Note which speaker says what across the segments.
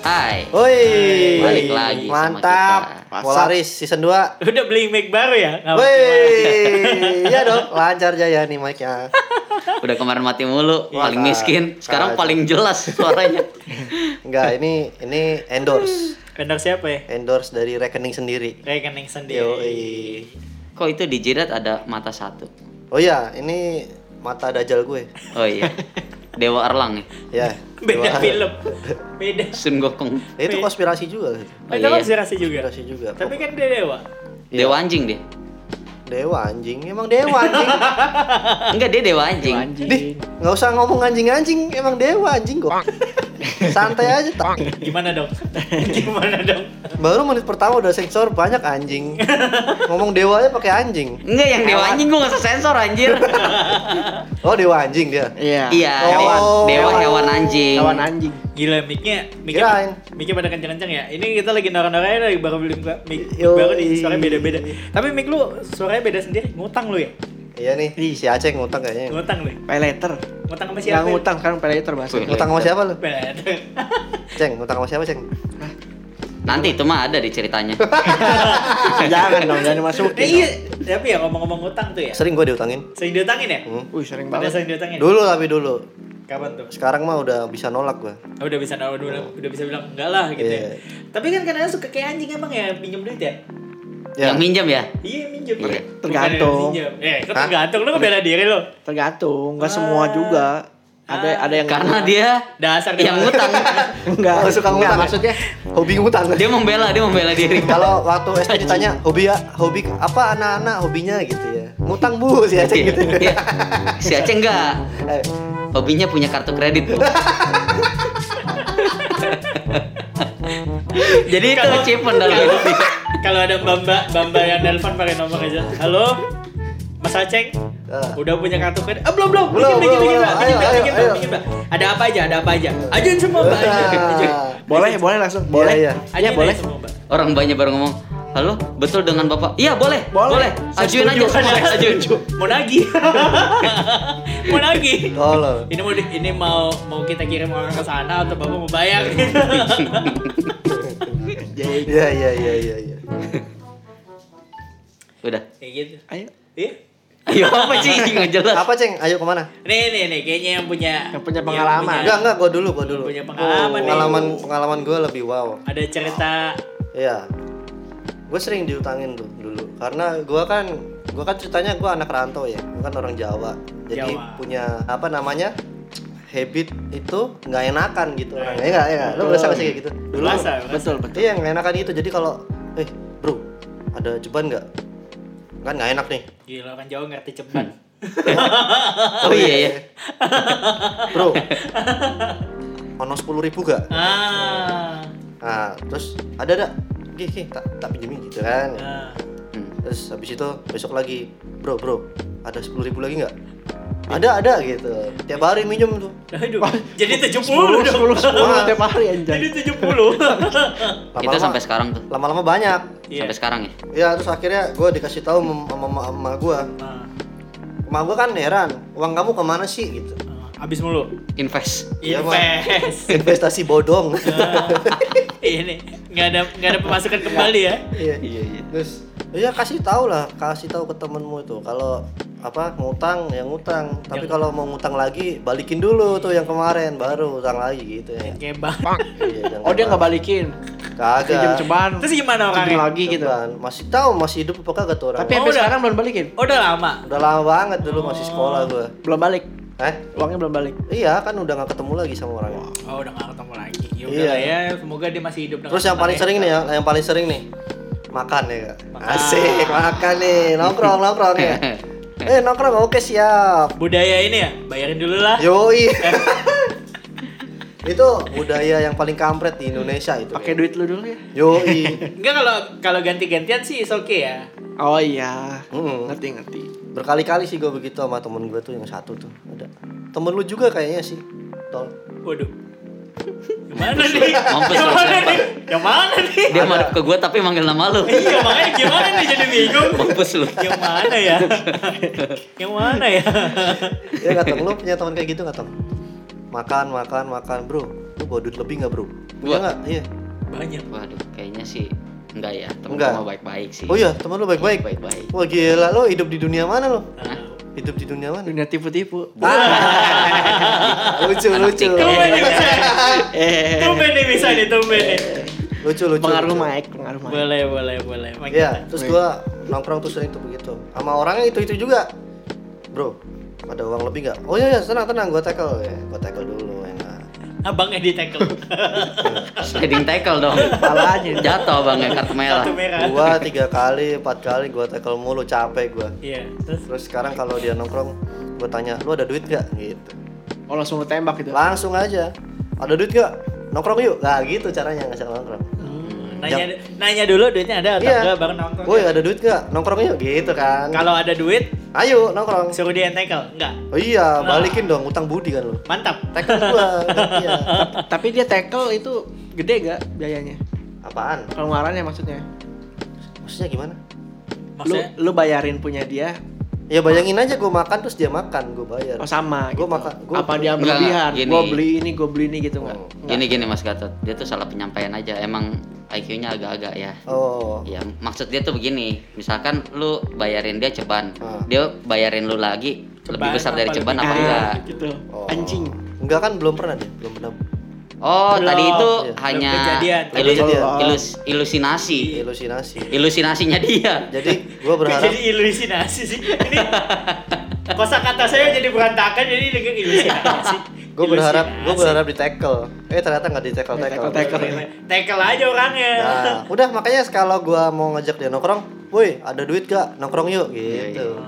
Speaker 1: Hai.
Speaker 2: Woi,
Speaker 1: Balik lagi sama
Speaker 2: Mantap.
Speaker 1: kita.
Speaker 2: Polaris season 2.
Speaker 3: Udah beli mic baru ya? Nggak
Speaker 2: Woi,
Speaker 3: apa-apa.
Speaker 2: iya dong, lancar jaya nih mic-nya.
Speaker 1: Udah kemarin mati mulu, paling miskin. Sekarang
Speaker 2: Kacau.
Speaker 1: paling jelas suaranya.
Speaker 2: Enggak, ini ini endorse.
Speaker 3: Vendor siapa ya?
Speaker 2: Endorse dari rekening sendiri.
Speaker 3: Rekening sendiri.
Speaker 2: Yoi.
Speaker 1: Kok itu di jidat ada mata satu?
Speaker 2: Oh iya, ini mata dajal gue.
Speaker 1: Oh iya. Dewa Erlang ya.
Speaker 2: Ya.
Speaker 3: Beda
Speaker 2: gimana?
Speaker 3: film. Beda.
Speaker 1: Sun Gokong.
Speaker 2: Ya, itu konspirasi juga.
Speaker 1: Oh,
Speaker 3: Oh,
Speaker 1: iya.
Speaker 3: konspirasi juga.
Speaker 2: Konspirasi juga.
Speaker 3: Tapi kan dia dewa.
Speaker 1: Dewa anjing dia.
Speaker 2: Dewa anjing, emang dewa anjing.
Speaker 1: Enggak, dia dewa anjing.
Speaker 2: Dih, nggak usah ngomong anjing-anjing, emang dewa anjing kok. Santai aja, tak.
Speaker 3: Gimana dong? Gimana dong?
Speaker 2: Baru menit pertama udah sensor banyak anjing. Ngomong dewa aja pakai anjing.
Speaker 1: Enggak, yang dewa anjing gua enggak sensor anjir.
Speaker 2: Oh, dewa anjing dia.
Speaker 4: Iya.
Speaker 1: Iya, dewa,
Speaker 2: Oh.
Speaker 1: dewa hewan anjing.
Speaker 4: Kawan anjing.
Speaker 3: Gila mic-nya,
Speaker 2: Kirain.
Speaker 3: mic-nya, mic-nya pada kencang-kencang ya. Ini kita lagi norak-noraknya lagi baru beli mic mic
Speaker 2: Yoi.
Speaker 3: baru nih, suaranya beda-beda. Tapi mic lu suaranya beda sendiri, ngutang lu ya?
Speaker 2: Iya nih, si Aceh ngutang kayaknya.
Speaker 3: Ngutang lu. ya?
Speaker 4: Pay later.
Speaker 3: Ngutang sama siapa? ya?
Speaker 4: Yang ngutang sekarang pay later bahasa.
Speaker 1: Wih.
Speaker 2: Ngutang sama siapa lu?
Speaker 3: Beda.
Speaker 2: Ceng, ngutang sama siapa, Ceng?
Speaker 1: Nanti itu mah ada di ceritanya.
Speaker 4: jangan dong, jangan
Speaker 3: Eh,
Speaker 4: dimasukin.
Speaker 3: iya, tapi ya ngomong-ngomong ngutang tuh ya.
Speaker 2: Sering gua diutangin.
Speaker 3: Sering diutangin ya?
Speaker 2: Hmm.
Speaker 4: Wih, sering
Speaker 3: Pada
Speaker 4: banget.
Speaker 3: sering diutangin. ya?
Speaker 2: Dulu tapi dulu.
Speaker 3: Kapan tuh?
Speaker 2: Sekarang mah udah bisa nolak gua.
Speaker 3: Oh, udah bisa udah, udah, udah bisa bilang enggak lah gitu
Speaker 2: Iya.
Speaker 3: ya. Tapi kan kadang suka kayak anjing emang ya pinjam duit ya.
Speaker 2: Ya.
Speaker 1: Yang minjem ya.
Speaker 3: Iya minjem.
Speaker 1: Iya.
Speaker 3: Bukan
Speaker 4: Tergantung.
Speaker 3: yang pinjam. Eh, kok
Speaker 2: Hah?
Speaker 3: tergantung lu ngebela diri lu.
Speaker 4: Tergantung, enggak semua juga. Ada ada yang
Speaker 1: Karena dia
Speaker 3: Dasar
Speaker 1: yang
Speaker 3: dewa.
Speaker 1: ngutang.
Speaker 4: enggak
Speaker 2: Oh, suka ngutang. maksudnya hobi ngutang.
Speaker 1: Dia membela, dia membela diri.
Speaker 2: Kalau waktu SD ditanya hobi ya, hobi apa anak-anak hobinya gitu ya. Ngutang bu si Aceh gitu.
Speaker 1: Iya. Si Aceh enggak.
Speaker 2: Eh,
Speaker 1: Hobinya punya kartu kredit. Jadi itu
Speaker 3: Kalau-
Speaker 1: achievement dalam
Speaker 3: kalau-
Speaker 1: hidup dia.
Speaker 3: Kalau ada Bamba, Bamba yang nelpon pakai nomor aja. Halo. Mas Aceng,
Speaker 2: Ah.
Speaker 3: udah punya kartu kredit? Ah, belum, belum.
Speaker 2: Belum,
Speaker 3: Pinjam,
Speaker 2: belum, belum.
Speaker 3: pinjam, pinjam,
Speaker 2: Ayo, ayo,
Speaker 3: pinjam,
Speaker 2: Ah.
Speaker 3: pinjam, pinjam, pinjam. Ada apa aja? Ada apa aja? Ajuin semua, Mbak. Ajuin, ajuin.
Speaker 4: Boleh, boleh langsung. Boleh.
Speaker 2: Iya,
Speaker 4: Iya,
Speaker 3: Ajuin aja
Speaker 4: boleh.
Speaker 3: semua, Mbak.
Speaker 1: Orang banyak baru ngomong, "Halo, betul dengan Bapak?" "Iya, boleh." Boleh.
Speaker 4: Boleh. Saya
Speaker 1: Ajuin aja
Speaker 4: setuju.
Speaker 1: semua,
Speaker 3: Ada-
Speaker 1: ajuin.
Speaker 3: Mau nagih. mau nagih.
Speaker 2: tolong.
Speaker 3: Ini mau di- ini mau mau kita kirim orang ke sana atau Bapak mau bayar?
Speaker 4: Jadi,
Speaker 2: Iya iya iya iya iya.
Speaker 1: Udah.
Speaker 3: Kayak gitu.
Speaker 4: ayo.
Speaker 3: Iya.
Speaker 1: Ayo apa sih? Enggak jelas.
Speaker 2: Apa Ceng? Ayo kemana?
Speaker 3: Nih nih nih kayaknya yang punya
Speaker 4: Yang punya pengalaman.
Speaker 3: punya-
Speaker 2: Enggak enggak gua dulu gua dulu.
Speaker 3: Punya pengalaman nih.
Speaker 2: Pengalaman pengalaman gua lebih wow.
Speaker 3: ada cerita
Speaker 2: Iya. Gue sering diutangin tuh dulu karena gua kan gua kan ceritanya gua anak rantau ya. Gua kan orang Jawa. Jadi
Speaker 3: Jawa.
Speaker 2: punya apa namanya? habit itu nggak enakan gitu
Speaker 3: Nah.
Speaker 2: orangnya. Iya nggak? Iya nggak? Lu berasa nggak sih kayak gitu? Dulu.
Speaker 3: Berasa, berasa.
Speaker 4: Betul, betul.
Speaker 2: Iya, nggak enakan gitu. Jadi kalau eh, bro, ada ceban nggak? Kan nggak enak nih.
Speaker 3: Gila orang Jawa ngerti cepat.
Speaker 1: Oh iya ya.
Speaker 2: Bro. Ono 10.000 ribu gak?
Speaker 3: Ah.
Speaker 2: Nah, terus ada ada gih, gih, tak tak pinjemin gitu kan.
Speaker 3: ah.
Speaker 2: Terus habis itu besok lagi, bro bro, ada sepuluh ribu lagi nggak? Ada ada gitu. Tiap hari minjem tuh.
Speaker 3: Aduh. Jadi 70 dong.
Speaker 4: 10 10
Speaker 2: Wah.
Speaker 4: 10 tiap hari
Speaker 3: Jadi
Speaker 4: anjay.
Speaker 3: 70.
Speaker 1: Kita sampai sekarang tuh.
Speaker 2: lama-lama banyak.
Speaker 3: Iya.
Speaker 1: Sampai sekarang ya.
Speaker 2: Ya terus akhirnya gue dikasih tahu mem- sama mama mama gue.
Speaker 3: Ah,
Speaker 2: Mama gue kan heran, uang kamu kemana sih gitu?
Speaker 3: ah, Abis mulu.
Speaker 1: Invest.
Speaker 2: Iya, Bang.
Speaker 3: Invest.
Speaker 2: Investasi bodong.
Speaker 3: Ah, ini nggak ada nggak ada pemasukan kembali ya.
Speaker 2: Iya.
Speaker 1: Iya, iya.
Speaker 2: Terus ya kasih tahu lah, kasih tahu ke temenmu itu kalau apa ngutang ya ngutang, tapi
Speaker 3: Yang-
Speaker 2: kalau mau ngutang lagi balikin dulu tuh yang kemarin baru utang lagi gitu ya.
Speaker 3: Kayak bang.
Speaker 2: Iya, yang
Speaker 4: Oh,
Speaker 2: kemarin.
Speaker 4: dia enggak balikin.
Speaker 1: Iya.
Speaker 4: Pinjam
Speaker 2: Kagak.
Speaker 4: ceban.
Speaker 3: Terus gimana
Speaker 4: pinjam
Speaker 3: orangnya?
Speaker 4: lagi gitu.
Speaker 2: Cuman, Kan, Masih tahu masih hidup apa kagak tuh orang.
Speaker 4: Tapi
Speaker 3: Oh,
Speaker 4: sampai
Speaker 3: udah.
Speaker 4: sekarang belum balikin.
Speaker 3: Udah lama.
Speaker 2: udah lama banget dulu masih sekolah gua.
Speaker 4: Belum balik.
Speaker 2: Eh?
Speaker 4: Uangnya belum balik.
Speaker 2: Iya, kan udah nggak ketemu lagi sama orangnya.
Speaker 3: Oh udah gak ketemu lagi. Ya
Speaker 2: Iya.
Speaker 3: udah lah ya, semoga dia masih hidup dengan
Speaker 2: Terus yang
Speaker 3: senang
Speaker 2: paling
Speaker 3: ya.
Speaker 2: sering nih ya, yang paling sering nih makan ya kak.
Speaker 3: Makan.
Speaker 2: Asik makan nih, nongkrong nongkrong ya. Eh nongkrong oke siap.
Speaker 3: budaya ini ya, bayarin dulu lah.
Speaker 2: Iya. Yoi. itu budaya yang paling kampret di Indonesia itu.
Speaker 4: Pakai duit lu dulu ya.
Speaker 2: Yoi.
Speaker 3: Enggak kalau kalau ganti-gantian sih is okay ya.
Speaker 4: Oh iya.
Speaker 1: Hmm.
Speaker 2: Mm.
Speaker 4: Ngerti, ngerti.
Speaker 2: Berkali-kali sih gue begitu sama temen gue tuh yang satu tuh. Ada. Temen lu juga kayaknya sih. Tol.
Speaker 3: Waduh. Gimana nih?
Speaker 1: Mampus lu,
Speaker 3: Gimana
Speaker 1: siapa?
Speaker 3: nih? Yang mana nih?
Speaker 1: Dia madep ke gua tapi manggil nama lu.
Speaker 3: Iya makanya gimana nih jadi bingung.
Speaker 1: Mampus lu.
Speaker 3: Yang mana ya? Yang mana ya?
Speaker 2: Ya nggak tong, lu punya teman kayak gitu nggak tong? Makan, makan, makan, bro. Lu bawa duit lebih nggak bro? Punya
Speaker 1: Gua.
Speaker 2: nggak? Iya.
Speaker 3: banyak
Speaker 1: Waduh, kayaknya sih enggak ya. Temen
Speaker 2: Enggak.
Speaker 1: gua mah baik-baik sih.
Speaker 2: Oh iya, teman lu baik-baik.
Speaker 1: Baik-baik.
Speaker 2: Wah gila, lo hidup di dunia mana lo?
Speaker 3: Nah,
Speaker 2: Hidup di dunia mana?
Speaker 4: Dunia tipu-tipu.
Speaker 2: lucu, lucu.
Speaker 3: tumben nih bisa
Speaker 4: Eh,
Speaker 3: tumben nih bisa nih tumben nih
Speaker 2: lucu, lucu.
Speaker 4: pengaruh
Speaker 2: lucu.
Speaker 4: Mike, pengaruh Mike.
Speaker 3: boleh boleh boleh Makin-
Speaker 2: Iya, terus gua nongkrong tuh sering tuh begitu. Sama orangnya itu-itu juga. Bro, ada uang lebih nggak? Oh iya, iya, tenang, tenang, gua tackle ya. Gua tackle dulu ya. nggak?
Speaker 3: abangnya di tackle
Speaker 1: Sliding tackle dong. Palanya jatuh abangnya kartu merah.
Speaker 3: kartu merah
Speaker 2: Gua tiga kali, empat kali gua tackle mulu, capek gua.
Speaker 3: iya terus
Speaker 2: Terus sekarang kalau dia nongkrong, gua tanya, "Lu ada duit gak? gitu.
Speaker 4: Oh langsung lu tembak gitu.
Speaker 2: Langsung aja. Ada duit gak? Nongkrong yuk. Nah, gitu caranya ngajak nongkrong.
Speaker 3: nanya nanya dulu duitnya ada atau
Speaker 2: Iya.
Speaker 3: enggak bareng nongkrong ya?
Speaker 2: Woi, ada duit gak? Nongkrong yuk gitu kan.
Speaker 3: kalau ada duit
Speaker 2: Ayo nongkrong.
Speaker 3: suruh dia yang tackle enggak
Speaker 2: Oh iya,
Speaker 3: Nah.
Speaker 2: balikin dong utang budi kan lu.
Speaker 3: mantap
Speaker 2: Tackle gua. iya.
Speaker 4: Tapi dia tackle itu gede gak biayanya?
Speaker 2: Apaan?
Speaker 4: Pengeluarannya maksudnya.
Speaker 2: Maksudnya gimana?
Speaker 4: Lu
Speaker 3: maksudnya
Speaker 4: lu bayarin punya dia
Speaker 2: Ya bayangin aja gue makan terus dia makan, gue bayar.
Speaker 4: oh sama
Speaker 2: Gua
Speaker 4: gitu.
Speaker 2: makan- gua- Oh.
Speaker 4: apa dia
Speaker 1: Enggak,
Speaker 4: berlebihan?
Speaker 1: gini.
Speaker 4: Gua beli ini, gua beli ini gitu enggak?
Speaker 1: Gini gini Mas Gatot, dia tuh salah penyampaian aja. Emang IQ-nya agak-agak ya.
Speaker 2: Oh.
Speaker 1: Ya, maksud dia tuh begini. Misalkan lu bayarin dia ceban,
Speaker 2: Ah.
Speaker 1: dia bayarin lu lagi lebih
Speaker 3: Ceban
Speaker 1: besar dari
Speaker 3: apa
Speaker 1: ceban
Speaker 3: lebih
Speaker 1: apa
Speaker 3: gede?
Speaker 1: enggak?
Speaker 4: gitu.
Speaker 2: oh.
Speaker 4: Anjing.
Speaker 2: Enggak kan belum pernah deh, belum pernah.
Speaker 1: Oh,
Speaker 3: Belum.
Speaker 1: tadi itu
Speaker 2: Iya.
Speaker 1: hanya
Speaker 3: Belum kejadian.
Speaker 1: ilu-
Speaker 2: Belum kejadian. Ah.
Speaker 1: ilus- ilusinasi.
Speaker 2: Ilusinasi.
Speaker 1: Ilusinasinya dia.
Speaker 2: Jadi gue
Speaker 3: Kok
Speaker 2: berharap
Speaker 3: Iya. jadi ilusinasi sih ini kosa kata saya jadi berantakan jadi dengan ilusinasi
Speaker 2: gue berharap gue
Speaker 3: Ilusinasi.
Speaker 2: berharap di tackle. Eh ternyata nggak di tackle
Speaker 4: Nggak
Speaker 2: tackle.
Speaker 4: tackle-tackle.
Speaker 3: tackle aja orangnya
Speaker 2: Nah, udah makanya kalau gue mau ngajak dia nongkrong, woi ada duit gak? Nongkrong yuk
Speaker 1: Iya,
Speaker 2: gitu.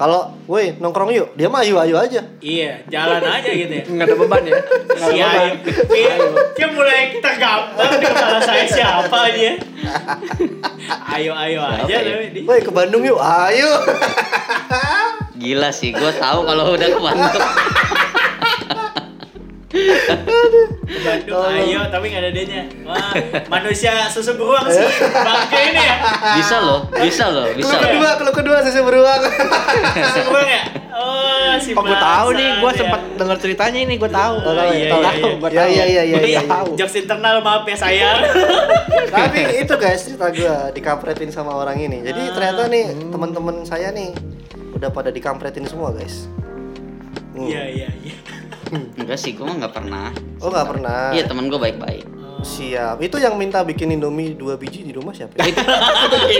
Speaker 2: Kalau woi nongkrong yuk, dia mah ayo ayo aja.
Speaker 3: iya jalan aja gitu ya
Speaker 4: Enggak ada beban ya. Enggak ada
Speaker 3: Si
Speaker 4: beban.
Speaker 3: Ayu, dia, dia mulai tergambar di kepala saya siapa dia. Ayo ayo aja
Speaker 1: Apa ya?
Speaker 3: tapi di-
Speaker 2: Woi ke Bandung yuk, ayo.
Speaker 1: Gila sih, gue tahu kalau udah ke Bandung.
Speaker 3: ke Bandung
Speaker 4: Oh.
Speaker 3: ayo tapi nggak ada dianya. Wah, manusia susu beruang sih bangke ini ya.
Speaker 1: Bisa loh, bisa loh, bisa. iya.
Speaker 2: Kalau
Speaker 1: loh.
Speaker 2: kedua, kalau kedua sesi beruang.
Speaker 3: Susu beruang ya. Oh si.
Speaker 4: Oh, gua tahu nih,
Speaker 3: Plaza
Speaker 4: gua
Speaker 3: dia.
Speaker 4: sempat denger ceritanya ini, gua tahu.
Speaker 2: Oh, tahu ya,
Speaker 4: Gua
Speaker 2: tahu ya.
Speaker 4: tahu, gua
Speaker 2: Iya,
Speaker 4: tahu.
Speaker 2: iya, iya, iya,
Speaker 4: Gua
Speaker 2: iya.
Speaker 4: tahu.
Speaker 3: Jokes internal maaf ya sayang.
Speaker 2: Tapi itu guys cerita gue dikapretin sama orang ini. Jadi
Speaker 1: Ah.
Speaker 2: ternyata nih teman-teman saya nih udah pada dikapretin semua guys.
Speaker 4: Oh.
Speaker 2: Hmm.
Speaker 3: Iya iya iya.
Speaker 1: Enggak sih, gue mah nggak pernah.
Speaker 2: Oh nggak pernah.
Speaker 1: Iya, temen gue baik-baik.
Speaker 2: Siap. Itu yang minta bikin Indomie dua biji di rumah siapa? ya?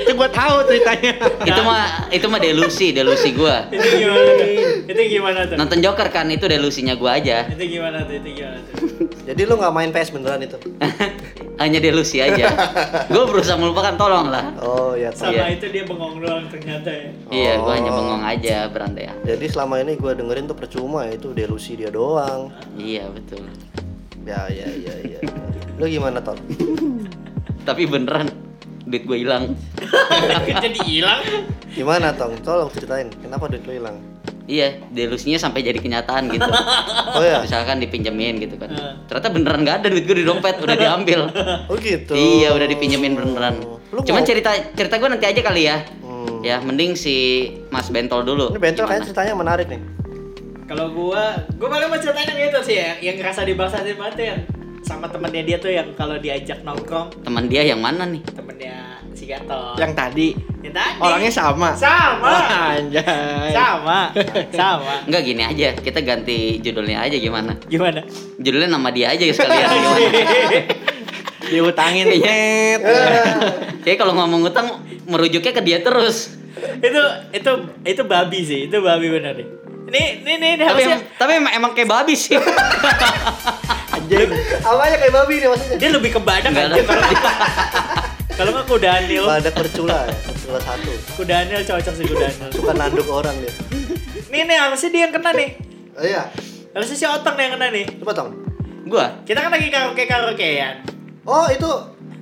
Speaker 4: itu gua tahu ceritanya.
Speaker 1: Itu mah itu mah delusi, delusi gue.
Speaker 3: Itu gimana tuh? Itu gimana tuh?
Speaker 1: Nonton Joker kan itu delusinya gue aja.
Speaker 3: Itu gimana tuh? Itu gimana tuh?
Speaker 2: Jadi lu nggak main PS beneran itu?
Speaker 1: Hanya delusi aja. gue berusaha melupakan, tolong lah.
Speaker 2: Oh ya. tahu.
Speaker 3: Sama
Speaker 1: Iya.
Speaker 3: itu dia bengong doang ternyata ya.
Speaker 1: Iya, gue hanya
Speaker 2: Oh.
Speaker 1: bengong aja berandai.
Speaker 2: Jadi selama ini gue dengerin tuh percuma ya, itu delusi dia doang.
Speaker 1: Iya betul.
Speaker 2: Ya ya ya ya. Lu gimana Tom?
Speaker 1: Tapi beneran duit gue hilang.
Speaker 3: Jadi hilang.
Speaker 2: Gimana Tom? Tolong ceritain kenapa duit lu hilang?
Speaker 1: Iya, delusinya sampai jadi kenyataan gitu.
Speaker 2: Oh ya.
Speaker 1: Misalkan dipinjemin gitu kan.
Speaker 2: Iya.
Speaker 3: Heeh.
Speaker 1: Ternyata beneran gak ada duit gue di dompet, udah diambil.
Speaker 2: Oh gitu.
Speaker 1: Iya, udah dipinjemin beneran.
Speaker 2: Lu
Speaker 1: Cuman
Speaker 2: mau-
Speaker 1: cerita cerita gue nanti aja kali ya.
Speaker 2: Hmm.
Speaker 1: Ya, mending si Mas Bentol dulu.
Speaker 2: Ini bentol
Speaker 1: Gimana?
Speaker 2: kayaknya ceritanya menarik nih.
Speaker 3: Kalau gua, gua paling mau ceritain yang itu sih ya, yang ngerasa dibangsain banget tuh yang sama temennya dia tuh yang kalau diajak nongkrong
Speaker 1: Teman dia yang mana nih?
Speaker 3: temennya si Gatot.
Speaker 4: Yang tadi
Speaker 3: Yang tadi.
Speaker 4: Ya. orangnya sama.
Speaker 3: sama,
Speaker 4: Wah,
Speaker 1: iya.
Speaker 4: anjay.
Speaker 3: sama, sama.
Speaker 1: Enggak gini aja, kita ganti judulnya aja gimana?
Speaker 3: Gimana?
Speaker 1: Judulnya nama dia aja sekalian gimana?
Speaker 4: Diutangin net.
Speaker 2: Iya.
Speaker 1: Jadi Iya. kalau ngomong utang merujuknya ke dia terus.
Speaker 3: itu itu itu babi sih, itu babi bener nih. Ini ini ini,
Speaker 2: Iya,
Speaker 3: ini
Speaker 1: Tapi
Speaker 3: harusnya
Speaker 1: tapi emang, emang kayak babi sih.
Speaker 4: Anjing.
Speaker 2: Awalnya kayak babi nih maksudnya.
Speaker 3: dia lebih ke badak
Speaker 1: Enggak
Speaker 3: aja kalau kalau nggak kuda Anil,
Speaker 2: Badak bercula, ya, bercula satu.
Speaker 3: kuda Anil cocok sih kuda Anil.
Speaker 2: Suka nanduk orang dia.
Speaker 3: Nih nih harusnya dia yang kena nih.
Speaker 2: Oh iya,
Speaker 3: Harusnya si Otong yang kena nih.
Speaker 2: lu potong.
Speaker 1: Gua
Speaker 3: Kita kan lagi karaoke karaokean.
Speaker 2: Oh itu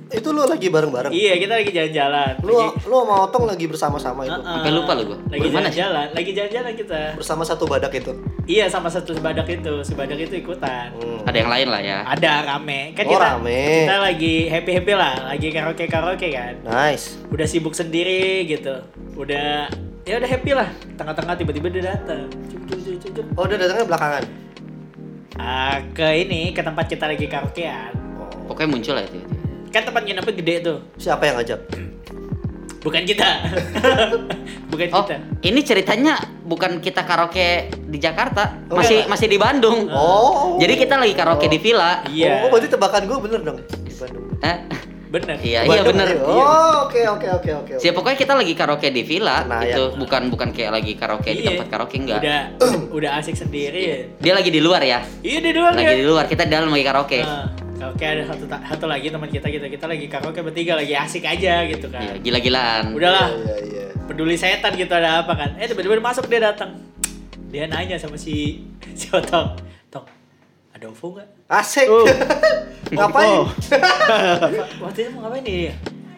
Speaker 2: itu lu lagi bareng-bareng.
Speaker 3: Iya, kita lagi jalan-jalan.
Speaker 2: Lu
Speaker 3: Lagi-
Speaker 2: lu sama Otong lagi bersama-sama itu.
Speaker 3: Heeh.
Speaker 1: Sampai lupa lu gua.
Speaker 3: Lagi
Speaker 1: Gua mana sih?
Speaker 3: jalan-jalan, lagi jalan-jalan kita.
Speaker 2: Bersama satu badak itu.
Speaker 3: Iya, sama satu sebadak itu, sebadak itu ikutan.
Speaker 2: Hmm.
Speaker 1: ada yang lain lah ya.
Speaker 3: Ada rame, kan
Speaker 2: Oh,
Speaker 3: kita
Speaker 2: rame.
Speaker 3: kita lagi happy happy lah, lagi karaoke karaoke kan.
Speaker 2: Nice.
Speaker 3: Udah sibuk sendiri gitu, udah ya udah happy lah. Tengah-tengah tiba-tiba dia datang. Cuk, cuk, cuk, cuk, cuk.
Speaker 2: Oh dia datangnya belakangan.
Speaker 3: Ah, ke ini ke tempat kita lagi karaokean.
Speaker 1: Pokoknya muncul lah itu. itu.
Speaker 3: kan tempat nginepnya gede tuh
Speaker 2: Oh, Siapa yang ngajak?
Speaker 3: bukan kita bukan
Speaker 2: Iya,
Speaker 1: Oh,
Speaker 3: kita
Speaker 1: ini ceritanya bukan kita karaoke di Jakarta, masih masih di Bandung.
Speaker 2: Oh.
Speaker 1: Jadi kita lagi karaoke di villa.
Speaker 3: iya
Speaker 2: Oh, berarti tebakan gue bener dong di Bandung.
Speaker 1: Eh,
Speaker 3: bener
Speaker 1: iya, iya
Speaker 2: Oh. Bandung,
Speaker 1: bener.
Speaker 2: iya. Oh, oke oke oke oke.
Speaker 1: Siapa pokoknya kita lagi karaoke di villa
Speaker 2: Nah,
Speaker 1: gitu, bukan bukan kayak lagi karaoke di
Speaker 3: Iya.
Speaker 1: tempat karaoke enggak.
Speaker 3: udah udah asik sendiri
Speaker 1: Dia lagi di luar ya.
Speaker 3: iya di luar
Speaker 1: Lagi di luar, kita di dalam lagi karaoke.
Speaker 2: Nah.
Speaker 3: Ah, Oke ada satu satu lagi teman kita gitu. kita kita lagi karaoke bertiga lagi asik aja gitu
Speaker 1: Iya,
Speaker 3: kan.
Speaker 1: gila-gilaan.
Speaker 3: Udahlah,
Speaker 2: Iya iya.
Speaker 3: peduli setan gitu ada apa kan eh tiba-tiba masuk dia datang dia nanya sama si si otong tong ada ovo nggak
Speaker 2: Asik.
Speaker 3: Oh.
Speaker 2: Ngapain?
Speaker 4: Oh.
Speaker 3: waktu itu mau ngapain nih